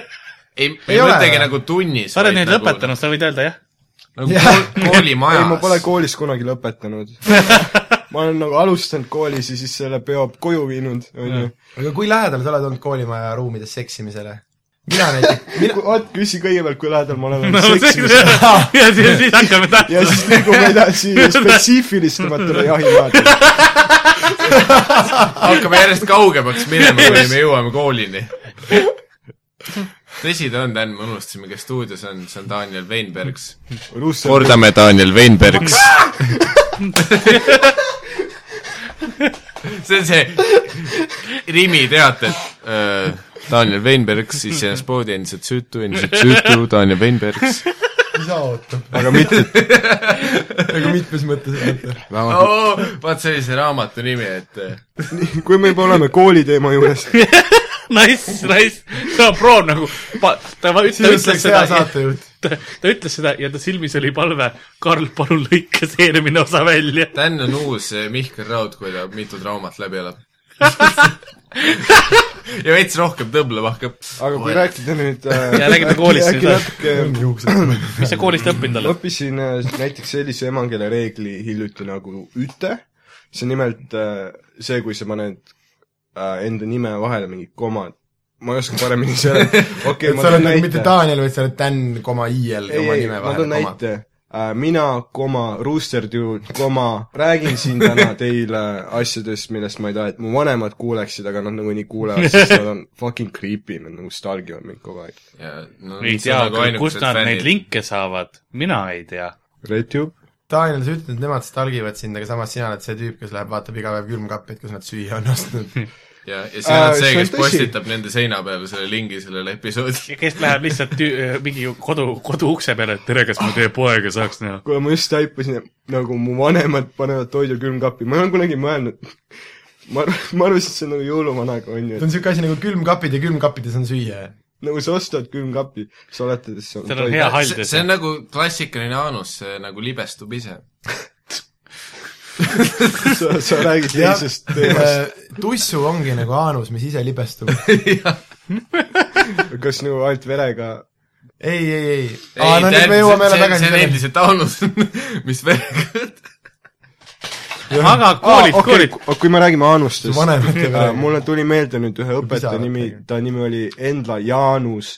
[SPEAKER 4] ei
[SPEAKER 2] Ei ole.
[SPEAKER 4] mõtlegi nagu tunnis .
[SPEAKER 3] sa oled nüüd lõpetanud , sa võid öelda jah .
[SPEAKER 4] nagu kool-
[SPEAKER 5] ei ma pole
[SPEAKER 4] koolimajas .
[SPEAKER 5] koolis kunagi lõpetanud .
[SPEAKER 3] [LAUGHS]
[SPEAKER 5] ma olen nagu alustanud koolis ja siis selle peo koju viinud , onju .
[SPEAKER 2] aga kui lähedal sa oled olnud koolimaja ruumides seksimisele ? mina
[SPEAKER 5] [LAUGHS]
[SPEAKER 2] näiteks , mina ,
[SPEAKER 5] vot , küsi kõigepealt , kui lähedal ma olen
[SPEAKER 3] [LAUGHS] no
[SPEAKER 5] olnud [LAUGHS] seksimisele .
[SPEAKER 3] see , ja siis, siis hakkame
[SPEAKER 5] ja
[SPEAKER 3] tähtsustama .
[SPEAKER 5] siis liigume
[SPEAKER 3] [LAUGHS]
[SPEAKER 5] edasi spetsiifilisematele jahimaadele .
[SPEAKER 4] hakkame järjest kaugemaks minema , kuni me jõuame koolini . tõsi ta on , Dan , me unustasime , kes stuudios on , see on Daniel Veinbergs .
[SPEAKER 5] Russell ,
[SPEAKER 4] kordame Daniel Veinbergs . [LAUGHS] see on see Rimi teated . Äh, Daniel Veinbergs , siis see on spordi endiselt süütu , endiselt süütu , Daniel Veinbergs .
[SPEAKER 2] isa ootab .
[SPEAKER 5] aga mitte ,
[SPEAKER 2] nagu mitmes
[SPEAKER 3] [LAUGHS]
[SPEAKER 2] mõttes mõtled .
[SPEAKER 4] Oh, vaat see oli see raamatu nimi , et äh,
[SPEAKER 5] kui me juba oleme kooli teema juures ,
[SPEAKER 3] Nice , nice , ta on proov nagu , ta , ta
[SPEAKER 2] siis
[SPEAKER 3] ütles
[SPEAKER 2] oleks hea
[SPEAKER 3] seda ,
[SPEAKER 2] saatejuht .
[SPEAKER 3] ta, ta ütles seda ja ta silmis oli palve , Karl , palun lõika see eelmine osa välja .
[SPEAKER 4] Dan on uus eh, Mihkel Raud , kui ta mitu traumat läbi elab [LAUGHS] ja veits rohkem tõmblema hakkab .
[SPEAKER 5] aga kui rääkida nüüd äh,
[SPEAKER 3] Ja räägime koolist
[SPEAKER 5] äkki
[SPEAKER 3] nüüd,
[SPEAKER 5] natuke ,
[SPEAKER 3] mis sa koolist õppinud oled ?
[SPEAKER 5] õppisin äh, näiteks sellise emakeele reegli hiljuti nagu üte , see on nimelt äh, see , kui sa paned äh, enda nime vahele mingid komad , ma ei oska paremini [LAUGHS] seletada , okei
[SPEAKER 2] et
[SPEAKER 5] ma
[SPEAKER 2] sa oled
[SPEAKER 5] toon
[SPEAKER 2] nagu mitte
[SPEAKER 5] näite .
[SPEAKER 2] Daniel , vaid sa oled Dan koma IL
[SPEAKER 5] ei ,
[SPEAKER 2] oma
[SPEAKER 5] ei ,
[SPEAKER 2] nime
[SPEAKER 5] ma toon
[SPEAKER 2] vahel .
[SPEAKER 5] näite . Äh, mina , koma , Roosterdude , koma , räägin siin täna [LAUGHS] teile asjadest , millest ma ei taha , et mu vanemad kuuleksid , aga nad nagunii kuulevad , sest nad [LAUGHS] on fucking creepy , nad nagu stalgivad mind kogu aeg .
[SPEAKER 4] No, nagu
[SPEAKER 3] ei nagu tea , kust nad neid ? linke saavad , mina ei tea .
[SPEAKER 5] Redtube ?
[SPEAKER 2] Daniel , sa ütled , et nemad stalgivad sind , aga samas sina oled see tüüp , kes läheb , vaatab iga päev külmkappi , et kus nad süüa on ostnud .
[SPEAKER 4] ja , ja siis on
[SPEAKER 5] Äh,
[SPEAKER 4] see ,
[SPEAKER 5] see on
[SPEAKER 4] kes
[SPEAKER 5] tõsi.
[SPEAKER 4] postitab nende seina peale selle lingi sellele episoodile .
[SPEAKER 3] kes läheb lihtsalt tüü- mingi kodu , kodu ukse peale , et tere , kas ma teie poega saaks näha ?
[SPEAKER 5] kuule , ma just taipasin , et nagu mu vanemad panevad toidu külmkappi , ma ei ole kunagi mõelnud . ma arv- , ma arvasin , et see on nagu jõuluvanaga , on
[SPEAKER 2] see
[SPEAKER 5] ju ,
[SPEAKER 2] on niisugune asi nagu külmkapid ja külmkappides on süüa .
[SPEAKER 5] et nagu sa ostad külmkappi , sa oletad , et see on
[SPEAKER 3] seal on hea hall
[SPEAKER 4] see on nagu klassikaline Anus , see nagu libestub ise .
[SPEAKER 5] sa , sa räägid teisest [LAUGHS] teemast .
[SPEAKER 2] äh, tussu ongi nagu aanus , mis ise libestub .
[SPEAKER 5] kas nagu ainult verega
[SPEAKER 2] ei , ei , ei . aa , no nüüd me jõuame jälle
[SPEAKER 4] see on
[SPEAKER 2] tagasi .
[SPEAKER 4] endiselt Anus , [LAUGHS] mis veel
[SPEAKER 3] aga koolid ,
[SPEAKER 5] Aa, Ah, okei,
[SPEAKER 3] koolid .
[SPEAKER 5] ku- kui me räägime Anustest
[SPEAKER 2] Su vanemate peale.
[SPEAKER 5] äh, mulle tuli meelde nüüd ühe õpetaja
[SPEAKER 2] Pisarad
[SPEAKER 5] nimi
[SPEAKER 2] tegid. ,
[SPEAKER 5] ta nimi oli Endla Jaanus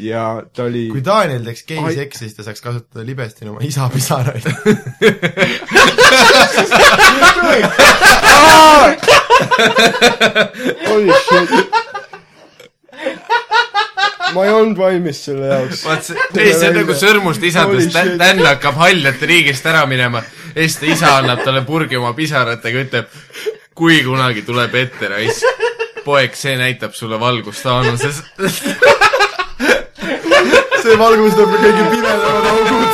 [SPEAKER 5] ja ta oli
[SPEAKER 2] kui Daniel teeks
[SPEAKER 5] Ai-
[SPEAKER 2] geiseksi , siis ta saaks kasutada libesti oma isa pisaraid .
[SPEAKER 5] [LAUGHS] Holy shit. ma ei olnud valmis selle jaoks .
[SPEAKER 4] vaat see , ei see on nagu sõrmust
[SPEAKER 5] Holy
[SPEAKER 4] isadest ,
[SPEAKER 5] shit.
[SPEAKER 4] Dan hakkab haljate riigist ära minema ja siis ta isa annab talle purgi oma pisaratega , ütleb kui kunagi tuleb ette raisk . poeg , see näitab sulle valgust aanuses .
[SPEAKER 2] see valgustab kõige pimedamad
[SPEAKER 5] [LAUGHS]
[SPEAKER 2] augud .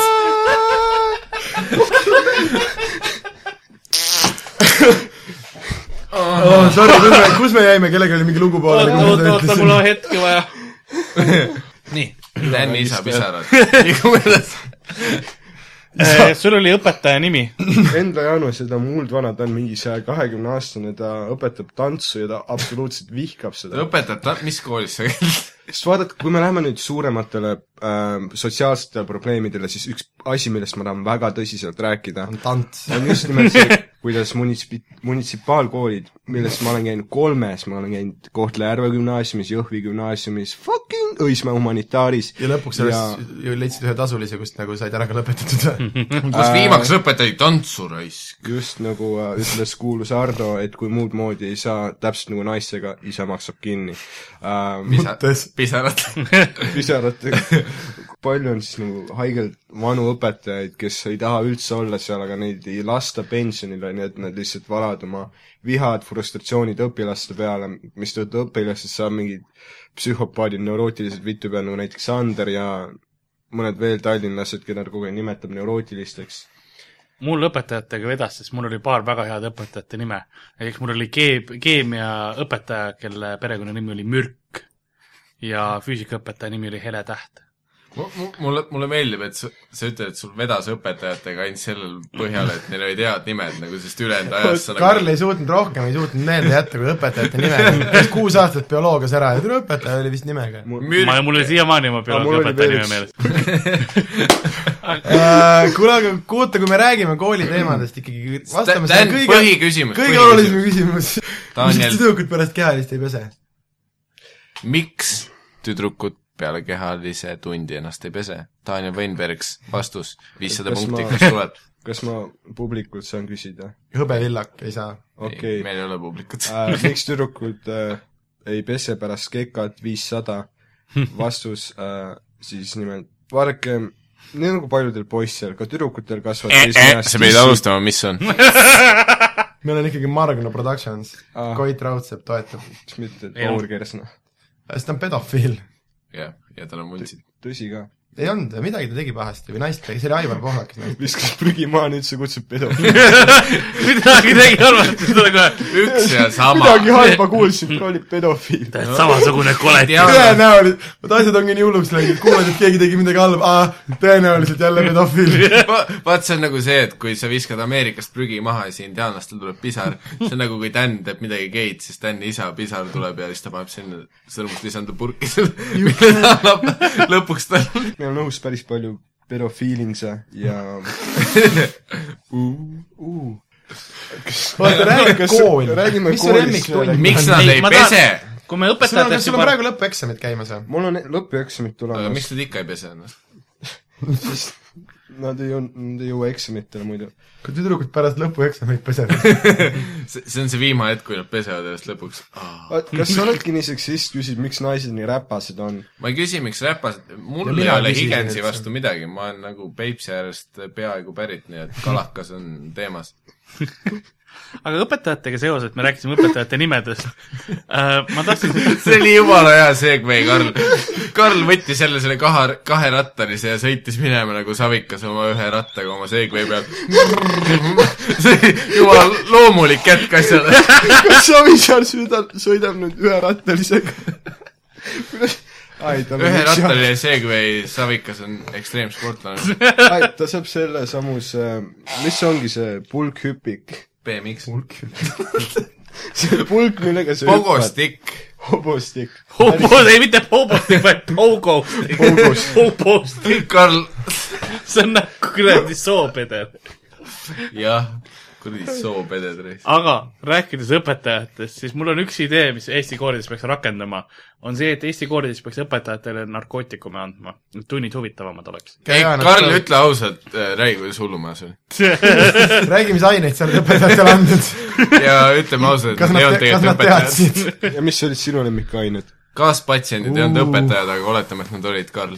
[SPEAKER 2] Oh, sorry , kus me , kus me jäime , kellega oli mingi lugu pooleli ,
[SPEAKER 3] oota ,
[SPEAKER 2] kui ma seda
[SPEAKER 3] oota , oota , mul
[SPEAKER 2] ütlesin
[SPEAKER 3] on ? hetke vaja . nii .
[SPEAKER 4] Tänni isa pisarad . liigume edasi .
[SPEAKER 3] Äh, sul oli õpetaja nimi .
[SPEAKER 5] Endla Jaanus ja ta on muuld vana , ta on mingi saja kahekümne aastane , ta õpetab tantsu ja ta absoluutselt vihkab seda .
[SPEAKER 4] õpetab ta , mis koolis sa käid ?
[SPEAKER 5] sest vaadake , kui me läheme nüüd suurematele äh, sotsiaalsetele probleemidele , siis üks asi , millest ma tahan väga tõsiselt rääkida ,
[SPEAKER 2] tants .
[SPEAKER 5] on just
[SPEAKER 2] [LAUGHS]
[SPEAKER 5] nimelt see , kuidas munitsipi- , munitsipaalkoolid , milles ma olen käinud kolmes , ma olen käinud Kohtla-Järve gümnaasiumis , Jõhvi gümnaasiumis , fucking Õismäe humanitaaris .
[SPEAKER 2] ja lõpuks sellest ju leidsid ühe tasulise , kust nagu said ära ka lõpetatud
[SPEAKER 5] [LAUGHS]
[SPEAKER 2] või ?
[SPEAKER 4] kus viimaks õpetati tantsu raisk .
[SPEAKER 5] just nagu äh, ütles kuulus Ardo , et kui muud moodi ei saa , täpselt nagu naistega , ise maksab kinni äh, .
[SPEAKER 2] Mõttes.
[SPEAKER 4] pisarad .
[SPEAKER 5] pisaratega . palju on siis nagu haigelt vanu õpetajaid , kes ei taha üldse olla seal , aga neid ei lasta pensionile , nii et nad lihtsalt valavad oma vihad , frustratsioonid õpilaste peale , mistõttu õpilastest saab mingid psühhopaadid , neurootilised vittu peal , nagu näiteks Sander ja mõned veel tallinlased , keda ta kogu aeg nimetab neurootilisteks .
[SPEAKER 3] mul õpetajatega vedas , sest mul oli paar väga head õpetajate nime . näiteks mul oli keeb- , keemiaõpetaja , kelle perekonnanimi oli Mürk ja füüsikaõpetaja nimi oli Hele Täht .
[SPEAKER 4] mulle , mulle meeldib , et sa , sa ütled , et sul vedas õpetajatega ainult sellel põhjal , et neil olid head nimed nagu , sest ülejäänud ajast sa
[SPEAKER 2] Karl ei suutnud rohkem , ei suutnud meelde jätta kui õpetajate nime . kuus aastat bioloogias ära ja tule õpetaja oli vist nimega .
[SPEAKER 4] Mürk
[SPEAKER 3] ma , mul oli siiamaani oma
[SPEAKER 5] Aga mul oli
[SPEAKER 3] bioloogiaõpetaja
[SPEAKER 5] veel
[SPEAKER 3] nime meeles .
[SPEAKER 2] Äh, kuule , aga kuulata , kui me räägime kooli teemadest ikkagi , vastame
[SPEAKER 4] Dan,
[SPEAKER 2] selle kõige ,
[SPEAKER 4] põhiküsimus ,
[SPEAKER 2] kõige olulisem küsimus . miks
[SPEAKER 4] Daniel ,
[SPEAKER 2] tüdrukud pärast kehalist ei pese ?
[SPEAKER 4] miks tüdrukud peale kehalise tundi ennast ei pese ? Daniel Weinbergs vastus , viissada
[SPEAKER 5] Kas
[SPEAKER 4] punkti ,
[SPEAKER 5] ma-
[SPEAKER 4] kas tuleb ?
[SPEAKER 5] kas ma publikult saan küsida ?
[SPEAKER 2] hõbevillak ei saa .
[SPEAKER 5] okei okay. ,
[SPEAKER 4] meil ei ole publikut .
[SPEAKER 5] äh, miks tüdrukud äh, ei pese pärast kekat viissada ? vastus äh, siis nimelt , vaadake , nii nagu paljudel poistel , ka tüdrukutel kasvab
[SPEAKER 4] Eh, Äh, sa pead alustama , mis on .
[SPEAKER 2] meil on ikkagi Margno Productions
[SPEAKER 5] Aa. ,
[SPEAKER 2] Koit Raudsepp toetab ,
[SPEAKER 5] mitte noh.
[SPEAKER 3] Ei olnud.
[SPEAKER 5] Paul Kersna .
[SPEAKER 2] sest ta on pedofiil .
[SPEAKER 4] jah , ja tal on vuntsid .
[SPEAKER 5] tõsi ka .
[SPEAKER 2] ei olnud , midagi ta tegi pahasti või naist tegi , see oli Aivar Pohlak .
[SPEAKER 5] viskas prügi maha , nüüd sa kutsud
[SPEAKER 3] [LAUGHS]
[SPEAKER 5] pedofiili .
[SPEAKER 3] midagi tegi halvasti , seda kohe .
[SPEAKER 4] üks ja sama .
[SPEAKER 5] midagi halba kuulsin , oli pedofiil .
[SPEAKER 3] tähed samasugune kolet ja
[SPEAKER 2] [LAUGHS] tõenäoliselt , vot asjad ongi nii hulluks läinud , kuuled , et keegi tegi midagi halba , aa , tõenäoliselt jälle pedofiil .
[SPEAKER 4] [LAUGHS] Va- vaat see on nagu see , et kui sa viskad Ameerikast prügi maha ja siis indiaanlastel tuleb pisar , see on nagu kui Dan teeb midagi geid , siis Dani isa pisar tuleb ja siis ta paneb sinna , sõrmust lisandub purki selle , mille [LAUGHS] ta annab lõpuks tal .
[SPEAKER 5] meil on õhus päris palju pedofiilinse ja
[SPEAKER 2] oota , räägi
[SPEAKER 5] Kas-
[SPEAKER 2] kool ,
[SPEAKER 5] räägime
[SPEAKER 2] mis su
[SPEAKER 5] koolist
[SPEAKER 2] lemmiktunnid
[SPEAKER 5] veel.
[SPEAKER 4] miks nad ei
[SPEAKER 3] Ma tahan-
[SPEAKER 4] pese ?
[SPEAKER 3] kui me
[SPEAKER 2] sul on , kas
[SPEAKER 3] õpetajatest
[SPEAKER 2] sul on
[SPEAKER 3] juba ,
[SPEAKER 2] praegu lõpueksamid käimas või ?
[SPEAKER 5] mul on lõpueksamid
[SPEAKER 4] aga miks
[SPEAKER 5] tulemas ,
[SPEAKER 4] nad ikka ei pese noh? ennast ?
[SPEAKER 5] nad ei jõua , nad ei jõua eksamitele muidu .
[SPEAKER 2] kui tüdrukud pärast lõpueksameid pesevad .
[SPEAKER 4] see , see on see viimane hetk , kui nad pesevad ennast lõpuks .
[SPEAKER 5] vaat , kas sa oledki nii seksist , küsid , miks naised nii räpased on ?
[SPEAKER 4] ma ei küsi , miks räpased , mul
[SPEAKER 2] Ja
[SPEAKER 4] ei
[SPEAKER 2] mina
[SPEAKER 4] ole
[SPEAKER 2] küsisin
[SPEAKER 4] Higensi
[SPEAKER 2] üldse.
[SPEAKER 4] vastu midagi , ma olen nagu Peipsi äärest peaaegu pärit , nii et kalakas on teemas .
[SPEAKER 3] aga õpetajatega seoses , me rääkisime õpetajate nimedest . ma
[SPEAKER 5] [LAUGHS]
[SPEAKER 3] tahtsin
[SPEAKER 4] [LAUGHS] see oli jumala hea segway , Karl . Karl võttis jälle selle kaha , kaherattalise ja sõitis minema nagu savikas oma ühe rattaga oma segway peal . [LAUGHS] see oli jumal loomulik jätk asjale .
[SPEAKER 3] [LAUGHS]
[SPEAKER 5] kas Savisaar sõidab , sõidab nüüd üherattalisega ? kuidas ? [LAUGHS] ai , tal
[SPEAKER 2] [LAUGHS]
[SPEAKER 5] on üks jah ,
[SPEAKER 4] üherattaline segway savikas on ekstreemsportlane .
[SPEAKER 5] ai , ta saab selle samuse , mis ongi see pulkhüpik ?
[SPEAKER 4] BMX .
[SPEAKER 5] see pulk , millega sa hüppad .
[SPEAKER 4] Pogostik .
[SPEAKER 5] hobustik .
[SPEAKER 3] Hobo , ei mitte hobostik , vaid pogostik . [LAUGHS]
[SPEAKER 5] Pogost.
[SPEAKER 3] hobostik ,
[SPEAKER 4] Karl .
[SPEAKER 3] see on nagu kuradi soopedel .
[SPEAKER 4] jah , kuradi soopeded reis .
[SPEAKER 3] aga rääkides õpetajatest , siis mul on üks idee , mis Eesti koolides peaks rakendama , on see , et Eesti koolides peaks õpetajatele narkootikume andma , et tunnid huvitavamad oleks .
[SPEAKER 4] ei , Karl , ütle ausalt , äh, räägi , kuidas hullumajas oli .
[SPEAKER 2] räägi , mis aineid sa oled õpetajatele andnud .
[SPEAKER 4] ja ütleme ausalt , et
[SPEAKER 2] kas
[SPEAKER 4] nad ei
[SPEAKER 2] nad , kas
[SPEAKER 4] olnud tegelikult
[SPEAKER 2] nad
[SPEAKER 4] õpetajad .
[SPEAKER 2] teadsid ?
[SPEAKER 5] [LAUGHS] ja mis olid sinu lemmikained ?
[SPEAKER 4] kaaspatsiendid ei olnud õpetajad , aga oletame , et nad olid , Karl .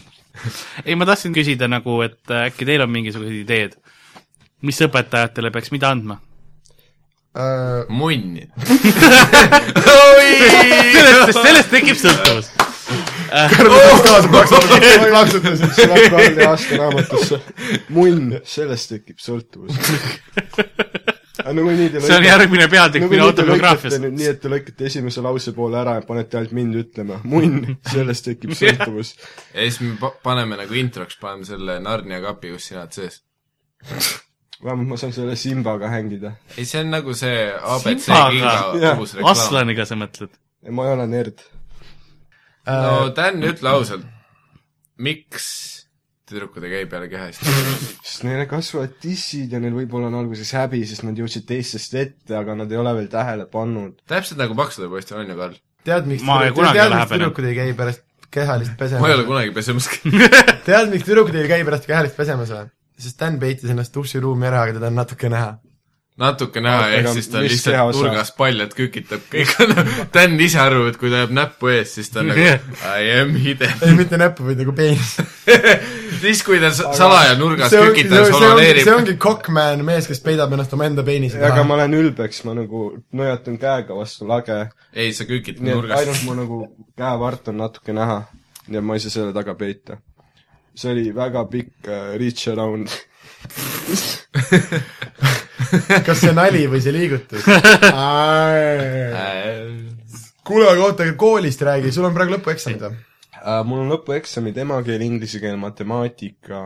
[SPEAKER 3] ei , ma tahtsin küsida nagu , et äkki teil on mingisugused ideed , mis õpetajatele peaks
[SPEAKER 2] Äh,
[SPEAKER 3] mida andma ?
[SPEAKER 4] munni .
[SPEAKER 3] oi , tekib sõltuvus .
[SPEAKER 5] plaksutasid selle Kalde aastaraamatusse . munn , sellest tekib sõltuvus . aga nagunii te
[SPEAKER 3] see on järgmine peatükk minu autobiograafiast .
[SPEAKER 5] nii , et te lõikate esimese lause poole ära ja panete ainult mind ütlema . munn , sellest
[SPEAKER 3] [LAUGHS]
[SPEAKER 5] tekib sõltuvus .
[SPEAKER 4] ja siis me pa- paneme nagu introks , paneme selle Narnia kapi , kus sina oled sees .
[SPEAKER 5] vähemalt ma saan selle Simbaga hängida .
[SPEAKER 4] ei , see on nagu see abc
[SPEAKER 3] Simbaga.
[SPEAKER 4] kinga
[SPEAKER 5] Jah.
[SPEAKER 4] uus reklaam .
[SPEAKER 3] Aslaniga sa mõtled ?
[SPEAKER 5] ma ei ole nerd .
[SPEAKER 4] no Dan , ütle ausalt , miks tüdrukud ei käi peale keha eest ?
[SPEAKER 5] sest neile kasvavad tissid ja neil võib-olla on alguses häbi , sest nad jõudsid teistest ette , aga nad ei ole veel tähele pannud .
[SPEAKER 4] täpselt nagu paksude poistel on ju , Karl .
[SPEAKER 2] tead , miks
[SPEAKER 3] Ma ei
[SPEAKER 2] tüdru-
[SPEAKER 3] kunagi
[SPEAKER 2] tead ,
[SPEAKER 3] lähe
[SPEAKER 2] miks
[SPEAKER 3] peale.
[SPEAKER 2] tüdrukud ei käi pärast kehalist
[SPEAKER 4] ma ei ole
[SPEAKER 2] pesemas ?
[SPEAKER 4] kunagi pesemas käinud .
[SPEAKER 2] tead , miks tüdrukud ei käi pärast kehalist pesemas või ? sest Dan peitis ennast duširuumi ära , aga teda on natuke näha .
[SPEAKER 4] natuke näha ,
[SPEAKER 5] Aga
[SPEAKER 4] ehk siis ta on
[SPEAKER 5] mis
[SPEAKER 4] lihtsalt
[SPEAKER 5] kehaosa?
[SPEAKER 4] nurgas paljalt kükitab kõik . [LAUGHS] Dan ise arvab , et kui ta jääb näppu ees , siis ta on nagu I am hidden .
[SPEAKER 2] ei , mitte näppu , vaid nagu peenis .
[SPEAKER 4] siis , kui ta sa- salaja nurgas
[SPEAKER 2] see ongi ,
[SPEAKER 4] kükitab ,
[SPEAKER 2] see ongi , see
[SPEAKER 4] soloneerib .
[SPEAKER 2] ongi cockman mees , kes peidab ennast omaenda peenise
[SPEAKER 5] aga
[SPEAKER 2] taha .
[SPEAKER 5] ma olen ülbeks , ma nagu nõjatan käega vastu lage ,
[SPEAKER 4] ei , sa kükitad
[SPEAKER 5] nii et ainult
[SPEAKER 4] nurgast .
[SPEAKER 5] mu nagu käevart on natuke näha . nii et ma ei saa selle taga peita . see oli väga pikk uh, reach around .
[SPEAKER 2] kas see nali või see liigutus ? kuule , aga oota , aga koolist räägi , sul on praegu lõpueksamid või ?
[SPEAKER 5] Uh, mul on lõpueksamid emakeel , inglise keel , matemaatika ,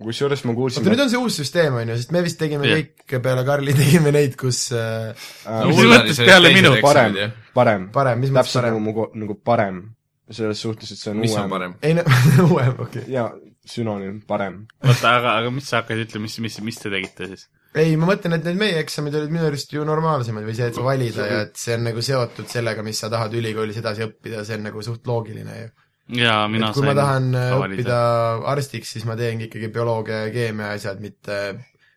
[SPEAKER 5] kusjuures ma kuulsin
[SPEAKER 2] oota , nüüd on see uus süsteem , on ju , sest me vist tegime
[SPEAKER 3] Jah.
[SPEAKER 2] kõik peale Karli , tegime neid , kus äh,
[SPEAKER 5] uh,
[SPEAKER 3] mis mõttes peale minu?
[SPEAKER 5] parem , parem,
[SPEAKER 2] Parem, mis mõttes
[SPEAKER 5] täpselt
[SPEAKER 2] parem?
[SPEAKER 5] nagu mu ko- , nagu parem . selles suhtes , et see on
[SPEAKER 4] mis on
[SPEAKER 5] uuem
[SPEAKER 4] parem ?
[SPEAKER 2] ei no [LAUGHS] uuem , okei okay. .
[SPEAKER 5] ja sünonüüm , parem .
[SPEAKER 3] oota , aga , aga mis sa hakkasid ütlema , mis , mis , mis te tegite siis ?
[SPEAKER 2] ei , ma mõtlen , et need meie eksamid olid minu arust ju normaalsemad või see , et sa valida ja et see on nagu seotud sellega , mis sa tahad ülikoolis edasi õppida , see on nagu suht loogiline ju .
[SPEAKER 3] jaa ,
[SPEAKER 2] et
[SPEAKER 3] mina
[SPEAKER 2] kui ma tahan äh,
[SPEAKER 3] ka valida.
[SPEAKER 2] õppida arstiks , siis ma teengi ikkagi bioloogia ja keemia asjad , mitte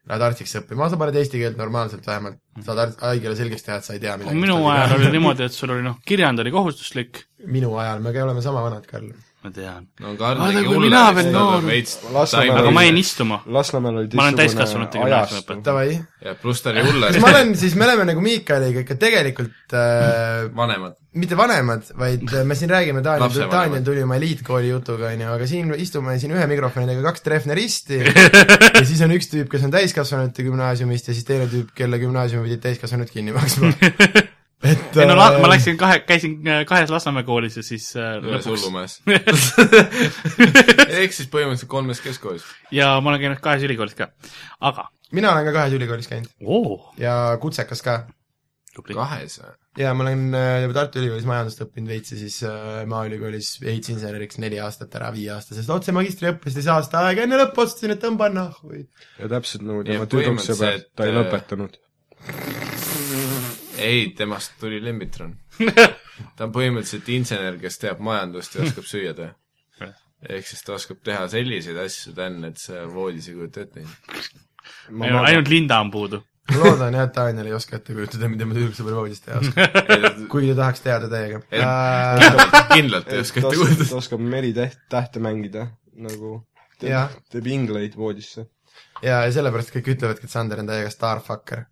[SPEAKER 2] lähed arstiks õppima , sa paned eesti keelt normaalselt vähemalt , saad arst- haigele selgeks teha , et sa ei tea midagi .
[SPEAKER 3] minu ajal oli niimoodi , et sul oli noh , kirjand oli kohustuslik ,
[SPEAKER 2] [LAUGHS] minu ajal , me ka oleme sama vanad , Karl .
[SPEAKER 3] ma tean .
[SPEAKER 4] no
[SPEAKER 3] Vaata,
[SPEAKER 4] Karl tegi
[SPEAKER 3] kui
[SPEAKER 4] hulle
[SPEAKER 3] nagu mina veel noor olin. .
[SPEAKER 5] Lasnamäel
[SPEAKER 3] aga
[SPEAKER 5] oli-
[SPEAKER 3] ma jäin istuma .
[SPEAKER 5] Lasnamäel oli
[SPEAKER 3] Ma olen
[SPEAKER 5] teistsugune
[SPEAKER 3] täiskasvanute
[SPEAKER 5] ajastu.
[SPEAKER 3] gümnaasiumiõpetaja.
[SPEAKER 2] Davai .
[SPEAKER 4] ja pluss ta oli hulle
[SPEAKER 2] kas . ma olen siis , me oleme nagu Miikaliga ikka tegelikult äh,
[SPEAKER 4] [LAUGHS] vanemad .
[SPEAKER 2] mitte vanemad , vaid äh, me siin räägime , Daniel ,
[SPEAKER 4] Lapsevanemad.
[SPEAKER 2] Daniel tuli oma eliitkooli jutuga , on ju , aga siin istume siin ühe mikrofoniga kaks Treffne
[SPEAKER 3] [LAUGHS]
[SPEAKER 2] risti ja siis on üks tüüp , kes on täiskasvanute gümnaasiumist ja siis teine tüüp , kelle gümnaasiumi pidid täiskasvanud kinni
[SPEAKER 3] [LAUGHS]
[SPEAKER 2] maksma . et
[SPEAKER 3] ei no la-
[SPEAKER 2] äh, ,
[SPEAKER 3] ma läksin kahe , käisin äh, kahes Lasnamäe koolis ja siis äh,
[SPEAKER 4] ühes
[SPEAKER 3] lõpuks [LAUGHS]
[SPEAKER 4] hullumajas . ehk siis põhimõtteliselt kolmes keskkoolis .
[SPEAKER 3] ja ma olen käinud kahes ülikoolis ka . aga ,
[SPEAKER 2] mina olen ka kahes ülikoolis käinud
[SPEAKER 3] oo ,
[SPEAKER 2] ja kutsekas ka .
[SPEAKER 3] tubli .
[SPEAKER 4] kahes või ?
[SPEAKER 2] ja ma olen äh, Tartu Ülikoolis majandust õppinud veits ja siis äh, Maaülikoolis ehitusinseneriks neli aastat ära viieaastasest , otse magistriõppes siis aasta aega enne lõppu otsustasin , et tõmban nahhu .
[SPEAKER 5] ja täpselt nagu
[SPEAKER 4] Ja
[SPEAKER 5] tema tüdruksõber
[SPEAKER 4] põhimõtteliselt, ,
[SPEAKER 5] ta ei
[SPEAKER 4] äh,
[SPEAKER 5] lõpetanud .
[SPEAKER 4] ei , temast tuli
[SPEAKER 3] [LAUGHS]
[SPEAKER 4] Lembitron . ta on põhimõtteliselt insener , kes teab majandust ja oskab süüa teha . ehk siis ta oskab teha selliseid asju , Dan , et sa voodis ei kujuta ette .
[SPEAKER 3] ainult Linda on puudu .
[SPEAKER 2] ma loodan jah , et Daniel ei oska ette kujutada , mida ma tüdruksõber voodis teha oskan . kui ta tahaks teada täiega
[SPEAKER 4] Ei.
[SPEAKER 2] äh, .
[SPEAKER 4] kindlalt ei oska ette
[SPEAKER 5] ta
[SPEAKER 3] [LAUGHS]
[SPEAKER 4] kujutada .
[SPEAKER 5] oskab meri täht- , tähte mängida nagu ,
[SPEAKER 2] Jah.
[SPEAKER 5] teeb teeb ingleid voodisse .
[SPEAKER 2] ja , ja sellepärast kõik ütlevadki , et Sander on täiega starfucker .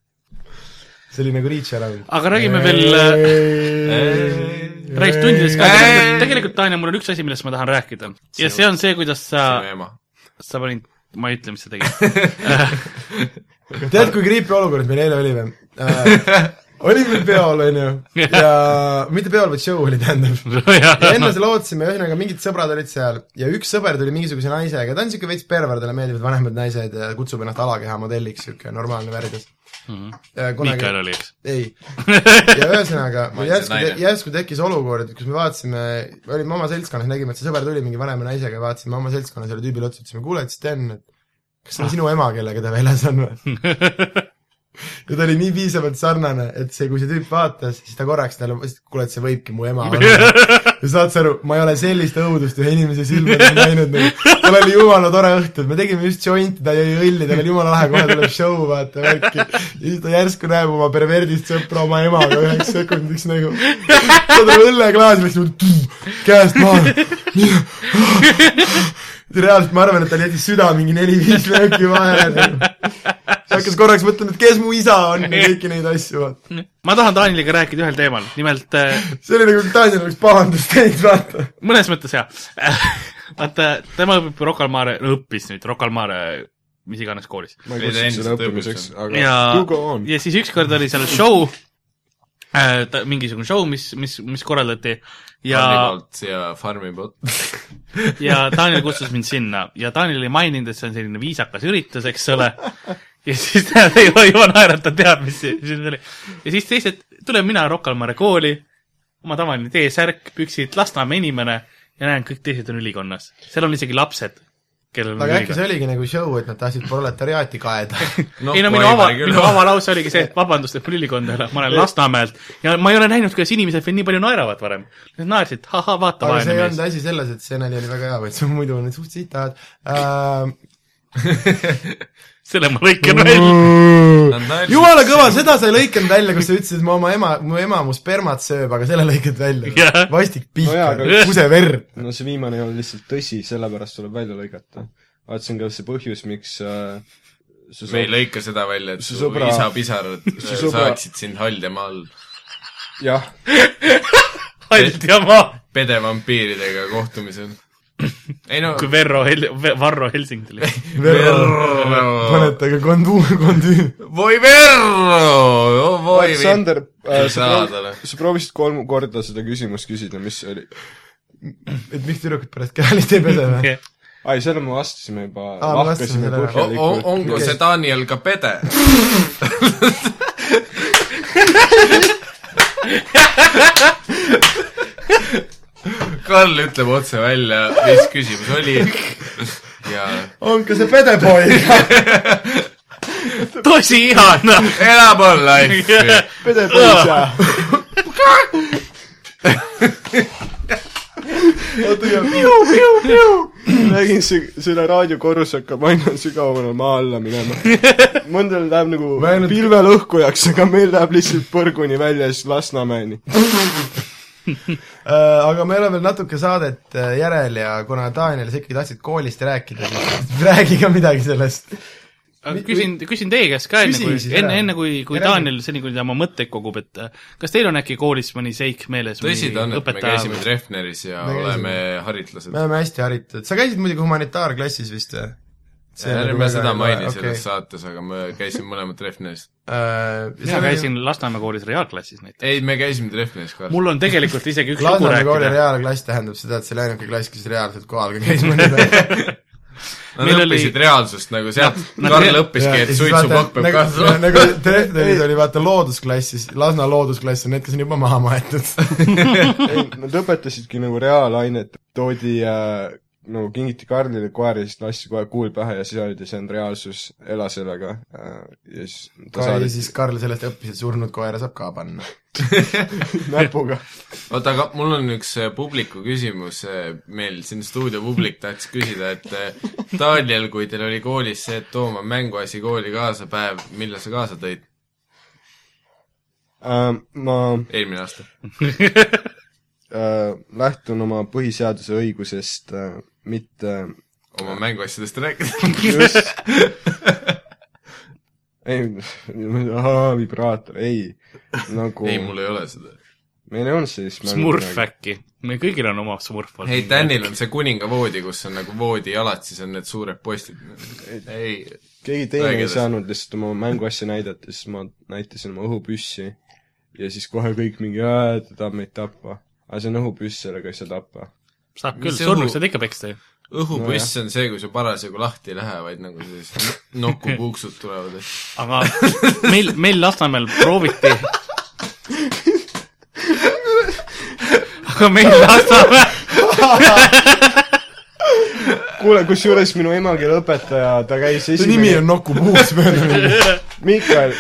[SPEAKER 2] see oli nagu reach around .
[SPEAKER 3] aga räägime veel äh, , räägiks tundides ka ,
[SPEAKER 4] Ei.
[SPEAKER 3] tegelikult Tanja , mul on üks asi , millest ma tahan rääkida . ja see on see , kuidas sa , sa panid , ma ei ütle , mis sa [LAUGHS] tegid .
[SPEAKER 2] tead , kui creepy olukord meil eile oli või äh, ? olime peol , onju , ja mitte peol , vaid show oli , tähendab . ja enne seda lootsime , ühesõnaga mingid sõbrad olid seal ja üks sõber tuli mingisuguse naisega , ta on niisugune veits perver , talle meeldivad vanemad naised ja kutsub ennast alakeha modelliks , niisugune normaalne värdjas .
[SPEAKER 3] Mhm. Mikael oli , eks .
[SPEAKER 4] [LAUGHS]
[SPEAKER 2] ei , ja ühesõnaga ,
[SPEAKER 4] Ma olin see
[SPEAKER 2] järsku
[SPEAKER 4] naine. ,
[SPEAKER 2] järsku tekkis olukord , kus me vaatasime , olime oma seltskonnas , nägime , et see sõber tuli mingi vanema naisega ja vaatasime oma seltskonnas selle tüübile otsa , ütlesime , kuule , et Sten , et kas see on sinu ema , kellega ta väljas on või ?
[SPEAKER 4] [LAUGHS]
[SPEAKER 2] ja ta oli nii piisavalt sarnane , et see , kui see tüüp vaatas , siis ta korraks talle , kuule , et see võibki mu
[SPEAKER 4] [LAUGHS]
[SPEAKER 2] ema olla . ja saad sa aru , ma ei ole sellist õudust ühe inimese silmadel näinud nagu. , tal oli jumala tore õhtu , me tegime just jointi , ta jäi õlli , tal oli jumala lahe , kohe tuleb show , vaata värki . ja siis ta järsku näeb oma perverdist sõpra oma emaga üheks sekundiks nagu , ta tuleb õlleklaasi , läks niimoodi käest maha . reaalselt ma arvan , et tal jättis süda mingi neli-viis lööki vahele nagu. hakkas korraks mõtlema , et kes mu isa on ja kõiki neid asju , vaata .
[SPEAKER 3] ma tahan Taaniga rääkida ühel teemal , nimelt äh,
[SPEAKER 2] see oli nagu , kui Daniel oleks pahandust teinud , vaata .
[SPEAKER 3] mõnes mõttes jah . [LAUGHS] vaata , tema õpib Rocca al Mare , õppis nüüd Rocca al Mare mis iganes koolis .
[SPEAKER 5] ma ei
[SPEAKER 4] Ei, ta
[SPEAKER 5] kutsunud seda
[SPEAKER 4] endiselt
[SPEAKER 5] õppimiseks , aga
[SPEAKER 3] ja
[SPEAKER 5] you go , on .
[SPEAKER 3] ja siis ükskord oli seal show äh, , mingisugune show , mis , mis , mis korraldati ja ,
[SPEAKER 4] Farmibot ja Farmibot .
[SPEAKER 3] [LAUGHS] ja Daniel kutsus mind sinna ja Daniel ei maininud , et see on selline viisakas üritus , eks ole . ja siis ta [LAUGHS] ei juba naerata teab , mis see see oli . ja siis teised , tulen mina Rocca al Mare kooli , oma tavaline T-särk , püksid , Lasnamäe inimene ja näen , kõik teised on ülikonnas . seal on isegi lapsed , kellel on
[SPEAKER 2] aga äkki see
[SPEAKER 3] ülikond .
[SPEAKER 2] oligi nagu show , et nad tahtsid proletariaati
[SPEAKER 3] [LAUGHS]
[SPEAKER 2] kaeda .
[SPEAKER 3] No, ei no minu ava , minu avalause oligi see , et vabandust , et mul ülikonda ei ole , ma olen Lasnamäelt ja ma ei ole näinud , kuidas inimesed veel nii palju naeravad varem . Nad naersid , ahah , vaata
[SPEAKER 2] aga see
[SPEAKER 3] vaene
[SPEAKER 2] ei
[SPEAKER 3] mees
[SPEAKER 2] olnud . asi selles , et see nali oli väga hea , vaid see muidu on need suht sitad äh, .
[SPEAKER 3] selle ma lõikan välja .
[SPEAKER 2] [LAUGHS] Mm. jumala kõva , seda sa ei lõikanud välja , kus sa ütlesid , et ma oma ema , mu ema mu spermat sööb , aga selle lõikad välja
[SPEAKER 3] Jah. .
[SPEAKER 2] vastik
[SPEAKER 5] No jaa,
[SPEAKER 2] pihka
[SPEAKER 5] aga- ,
[SPEAKER 2] kuseverd .
[SPEAKER 5] no see viimane ei ole lihtsalt tõsi , sellepärast tuleb välja lõigata . vaat see on ka see põhjus , miks äh, su sõbra ,
[SPEAKER 4] me ei lõika seda välja , et
[SPEAKER 5] Su
[SPEAKER 4] su
[SPEAKER 5] sõbra-
[SPEAKER 4] isa pisarad äh,
[SPEAKER 5] [LAUGHS] su sõbra-
[SPEAKER 4] saaksid sind Haljamaa all
[SPEAKER 5] jah ,
[SPEAKER 3] Alt ja maa ,
[SPEAKER 4] pedevampiiridega kohtumisel . ei no ,
[SPEAKER 3] kui Verro Hel- , Varro Helsing tuli .
[SPEAKER 2] paned taga konduum , kondüüm .
[SPEAKER 4] voi Verro , voi vi-
[SPEAKER 5] Aleksander äh, , sa,
[SPEAKER 4] Saad ole.
[SPEAKER 5] proovi, sa proovisid kolm korda seda küsimust küsida , mis see oli ?
[SPEAKER 2] et miks tüdrukud pärast käelist ei pese või ?
[SPEAKER 5] ai , selle me vastasime juba ,
[SPEAKER 2] Aa, me vastasime
[SPEAKER 5] lahkasime
[SPEAKER 2] selle ära.
[SPEAKER 4] O- o-
[SPEAKER 5] põhjalikult .
[SPEAKER 4] onko se Daniel ka pede ? Karl ütleb otse välja , mis küsimus oli ja
[SPEAKER 2] on ka see
[SPEAKER 3] [LAUGHS]
[SPEAKER 2] pedepoi ,
[SPEAKER 3] tosi ihana .
[SPEAKER 4] elab on
[SPEAKER 3] [LAUGHS]
[SPEAKER 4] life .
[SPEAKER 5] pedepoisa . nägin , see , selle raadiokorrus hakkab aina sügavamale maa alla
[SPEAKER 4] [LAUGHS]
[SPEAKER 5] minema . mõndel läheb nagu
[SPEAKER 2] Ma ainult-
[SPEAKER 5] pilvelõhkujaks , aga meil läheb lihtsalt põrguni välja ja siis Lasnamäeni .
[SPEAKER 2] Äh, aga meil on veel natuke saadet äh, järel ja kuna Daniel , sa ikkagi tahtsid koolist rääkida , siis räägi ka midagi sellest .
[SPEAKER 3] küsin , küsin teie käest ka enne ,
[SPEAKER 2] Küsi
[SPEAKER 3] kui
[SPEAKER 2] siis , ära.
[SPEAKER 3] enne , enne kui , kui
[SPEAKER 2] Ja räägi.
[SPEAKER 3] Daniel seni , kuni ta oma mõtteid kogub , et äh, kas teil on äkki koolis mõni seik meeles ?
[SPEAKER 4] tõsi ta on , et me käisime Treffneris ja
[SPEAKER 2] Me käisime.
[SPEAKER 4] oleme haritlased
[SPEAKER 2] me . oleme hästi haritud , sa käisid muidugi humanitaarklassis vist nagu või ?
[SPEAKER 4] ärme seda maini selles . saates , aga me käisime mõlemad Treffneris .
[SPEAKER 2] Äh,
[SPEAKER 3] mina
[SPEAKER 2] nagu
[SPEAKER 3] käisin Lasnamäe koolis reaalklassis näiteks .
[SPEAKER 4] ei , me käisime Treffneris ka .
[SPEAKER 3] mul on tegelikult isegi üks lugu
[SPEAKER 2] Lasnamäe kooli
[SPEAKER 3] rääkida .
[SPEAKER 2] reaalklass tähendab seda , et see oli ainuke klass , kes reaalselt kohal ka käis mõni
[SPEAKER 4] [LAUGHS]
[SPEAKER 2] päev .
[SPEAKER 4] Nad
[SPEAKER 3] meil oli-
[SPEAKER 4] õppisid reaalsust nagu sealt ,
[SPEAKER 3] nad-
[SPEAKER 4] Karl õppiski , et suitsupakk peab kaasa
[SPEAKER 2] [LAUGHS] nagu,
[SPEAKER 4] tulema .
[SPEAKER 2] nagu Treffneris oli vaata loodusklassis , Lasna loodusklass on need , kes on juba maha
[SPEAKER 4] [LAUGHS]
[SPEAKER 2] maetud .
[SPEAKER 5] ei , nad õpetasidki nagu reaalainet , toodi äh, nagu kingiti Karlile koer ja siis lasti kohe kuul pähe ja siis öeldi , see on reaalsus , ela sellega äh, . ja siis ta
[SPEAKER 2] ja
[SPEAKER 5] saatis
[SPEAKER 2] siis Karl sellest õppis , et surnud koera saab ka panna .
[SPEAKER 5] näpuga .
[SPEAKER 4] oota , aga mul on üks äh, publiku küsimus , meil siin stuudio publik tahtis küsida , et äh, Daniel , kui teil oli koolis see , et tooma mänguasi kooli kaasa päev , mille sa kaasa tõid
[SPEAKER 5] Äh, ma
[SPEAKER 4] eelmine aasta ?
[SPEAKER 3] [LAUGHS]
[SPEAKER 5] äh, lähtun oma põhiseaduse õigusest äh, mitte
[SPEAKER 4] oma mänguasjadest rääkida .
[SPEAKER 3] [LAUGHS]
[SPEAKER 5] just ei , [LAUGHS] vibraator , ei , nagu
[SPEAKER 4] ei , mul ei ole seda .
[SPEAKER 5] meil ei olnud sellist
[SPEAKER 3] Smurf . äkki , meil kõigil on oma Smurf .
[SPEAKER 4] ei , Danil on see kuningavoodi , kus on nagu voodijalad , siis on need suured postid . ei ,
[SPEAKER 5] keegi teine
[SPEAKER 4] Räägi
[SPEAKER 5] ei
[SPEAKER 4] edasi.
[SPEAKER 5] saanud lihtsalt oma mänguasja näidata , siis ma näitasin oma õhupüssi ja siis kohe kõik mingi , ta tahab meid tappa . aga see on õhupüss , sellega ei saa tappa .
[SPEAKER 3] saab
[SPEAKER 4] mis
[SPEAKER 3] küll ,
[SPEAKER 4] see õhu-
[SPEAKER 3] surnuks saad ikka peksta ju .
[SPEAKER 4] õhupüss on see , kui sa parasjagu lahti ei lähe , vaid nagu sellised nokupuuksud tulevad .
[SPEAKER 2] [LAUGHS]
[SPEAKER 4] [LAUGHS]
[SPEAKER 3] aga meil , meil Lasnamäel prooviti aga meil
[SPEAKER 4] [LAUGHS]
[SPEAKER 3] Lasnamäel ,
[SPEAKER 5] kuule , kusjuures minu emakeeleõpetaja , ta käis
[SPEAKER 2] see nimi
[SPEAKER 5] esimene
[SPEAKER 2] on , Nuku Puus ,
[SPEAKER 4] [LAUGHS]
[SPEAKER 2] mööda mind .
[SPEAKER 5] Mikael ,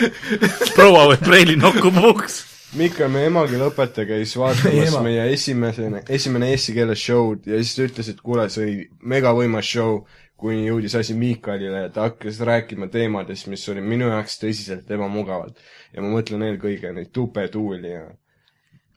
[SPEAKER 3] proua võib preili nokku puhuks .
[SPEAKER 5] Mikael , meie emakeeleõpetaja käis vaatamas
[SPEAKER 2] ema.
[SPEAKER 5] meie esimesena , esimene eesti keele show'd ja siis ta ütles , et kuule , see oli megavõimas show , kuni jõudis asi Mikalile ja ta hakkas rääkima teemadest , mis olid minu jaoks tõsiselt ebamugavad . ja ma mõtlen eelkõige neid tupetuuli ja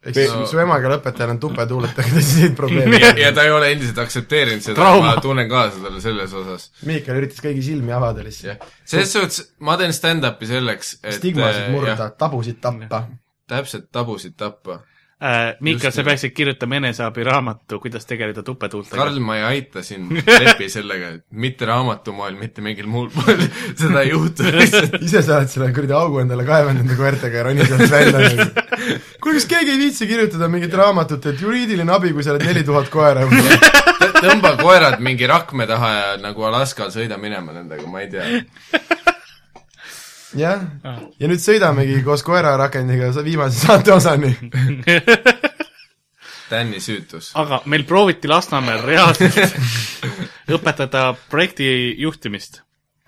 [SPEAKER 2] ehk siis
[SPEAKER 4] Pe-
[SPEAKER 2] su emakeeleõpetajal on tupetuuletega tõsiseid probleeme
[SPEAKER 4] ja, . [LAUGHS] ja ta ei ole endiselt aktsepteerinud seda ,
[SPEAKER 3] Trauma.
[SPEAKER 4] ma tunnen kaasa talle selles osas .
[SPEAKER 2] Miikal üritas kõigi silmi avada lihtsalt .
[SPEAKER 4] jah , selles suhtes ma teen stand-up'i selleks , et
[SPEAKER 2] stigmasid
[SPEAKER 4] äh,
[SPEAKER 2] murda
[SPEAKER 4] jah, ,
[SPEAKER 2] tabusid tappa .
[SPEAKER 4] täpselt tabusid tappa .
[SPEAKER 3] Äh, Miika ,
[SPEAKER 4] Just
[SPEAKER 3] sa
[SPEAKER 4] nii.
[SPEAKER 3] peaksid kirjutama eneseabiraamatu , kuidas tegeleda tupetuultega .
[SPEAKER 4] Karl , ma ei aita sind , lepi sellega , et mitte raamatu moel , mitte mingil muul moel [LAUGHS] seda ei juhtu
[SPEAKER 2] [LAUGHS]
[SPEAKER 4] lihtsalt .
[SPEAKER 2] ise sa oled selle kuradi augu endale kaevanud nende koertega ja ronid sealt välja . kuule , kas keegi ei viitsi kirjutada mingit raamatut , et juriidiline abi , kui sa oled neli tuhat koera juba ?
[SPEAKER 4] tõmba koerad mingi rakme taha ja nagu Alaskal sõida minema nendega , ma ei tea .
[SPEAKER 2] jah , ja nüüd sõidamegi koos koerarakendiga sa- viimase saate osani .
[SPEAKER 4] Tänni süütus .
[SPEAKER 3] [LAUGHS] aga meil prooviti Lasnamäel
[SPEAKER 4] [LAUGHS]
[SPEAKER 3] reaalselt õpetada projekti juhtimist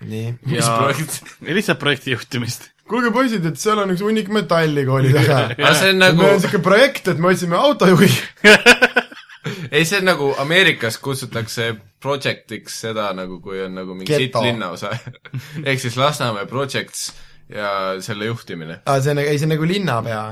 [SPEAKER 2] nii .
[SPEAKER 4] mis
[SPEAKER 3] ja
[SPEAKER 4] projekt ?
[SPEAKER 3] lihtsalt projekti juhtimist .
[SPEAKER 2] kuulge poisid , et seal on üks hunnik metalli kooli taga .
[SPEAKER 4] aga see on
[SPEAKER 2] meil
[SPEAKER 4] nagu
[SPEAKER 2] on , niisugune projekt , et me otsime autojuhi .
[SPEAKER 4] ei see on nagu Ameerikas kutsutakse project'iks seda nagu , kui on nagu mingi sitt
[SPEAKER 2] Geto.
[SPEAKER 4] linnaosa . [LAUGHS] ehk siis Lasnamäe projects ja selle juhtimine .
[SPEAKER 2] aa , see on , ei see on nagu linnapea ,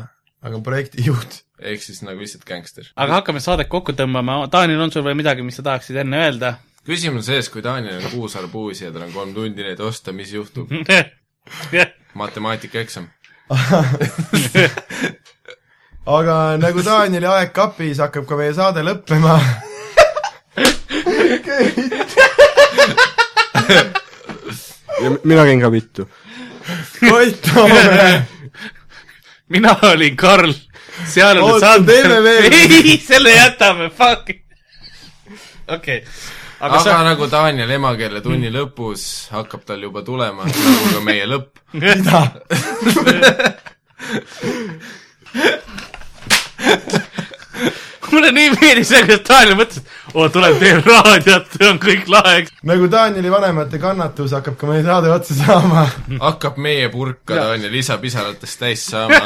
[SPEAKER 2] aga projektijuht .
[SPEAKER 4] ehk siis nagu lihtsalt gängster .
[SPEAKER 3] aga hakkame saadet kokku tõmbama , Taanil on sul veel midagi , mis sa tahaksid enne öelda ? [LAUGHS]
[SPEAKER 4] küsimus on sees , kui Taanil on kuus arbuusi ja tal on kolm tundi neid osta , mis juhtub ? Mhm. matemaatikaeksam .
[SPEAKER 2] aga nagu Danieli aeg kapis , hakkab ka meie saade lõppema .
[SPEAKER 5] ja mina käin ka vittu .
[SPEAKER 2] Koit Toome ,
[SPEAKER 3] mina olin Karl , seal on
[SPEAKER 2] Oota, teeme veel.
[SPEAKER 3] [LAUGHS] ei , selle jätame , fuck . okei , aga
[SPEAKER 4] aga Mhm.
[SPEAKER 3] sa ,
[SPEAKER 4] nagu Taaniel emakeeletunni lõpus hakkab tal juba tulema , nagu ka meie lõpp .
[SPEAKER 2] mida ?
[SPEAKER 3] [LAUGHS] mulle nii meeldis see , kuidas Taanil mõtles , et oo , tuleb teil raadiot , on kõik lahe .
[SPEAKER 2] nagu Danieli vanemate kannatus hakkab ka meie saade otsa saama .
[SPEAKER 4] hakkab meie purka Taaniel lisapisaratest täis saama .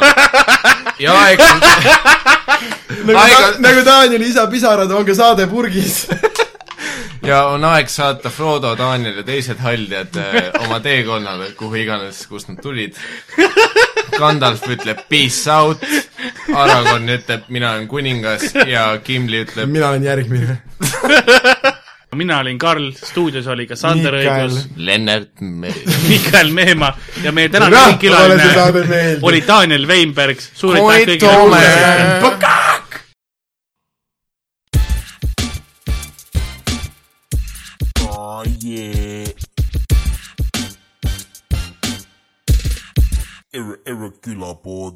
[SPEAKER 4] ja aeg on ,
[SPEAKER 2] nagu,
[SPEAKER 4] Aega-
[SPEAKER 2] ta, nagu Danieli isa pisarad on ka saade purgis .
[SPEAKER 4] ja on aeg saata Frodo , Taaniel ja teised halljad eh, oma teekonnale , kuhu iganes , kust nad tulid . Gandalf ütleb peace out , Aragorn ütleb mina olen kuningas ja Gimli ütleb
[SPEAKER 2] mina olen järgmine .
[SPEAKER 3] mina olin Karl , stuudios oli ka Sander
[SPEAKER 2] Mikael.
[SPEAKER 3] Õigus ,
[SPEAKER 4] Lennart Meri .
[SPEAKER 3] Mikael Meemaa ja meie tänane
[SPEAKER 2] rahvale see saade
[SPEAKER 3] külaline
[SPEAKER 2] meeldib .
[SPEAKER 3] oli Taaniel Veinberg , suur aitäh
[SPEAKER 4] Koit
[SPEAKER 3] kõigile .
[SPEAKER 4] Toome .
[SPEAKER 1] Oh yeah. Ir- irregular board.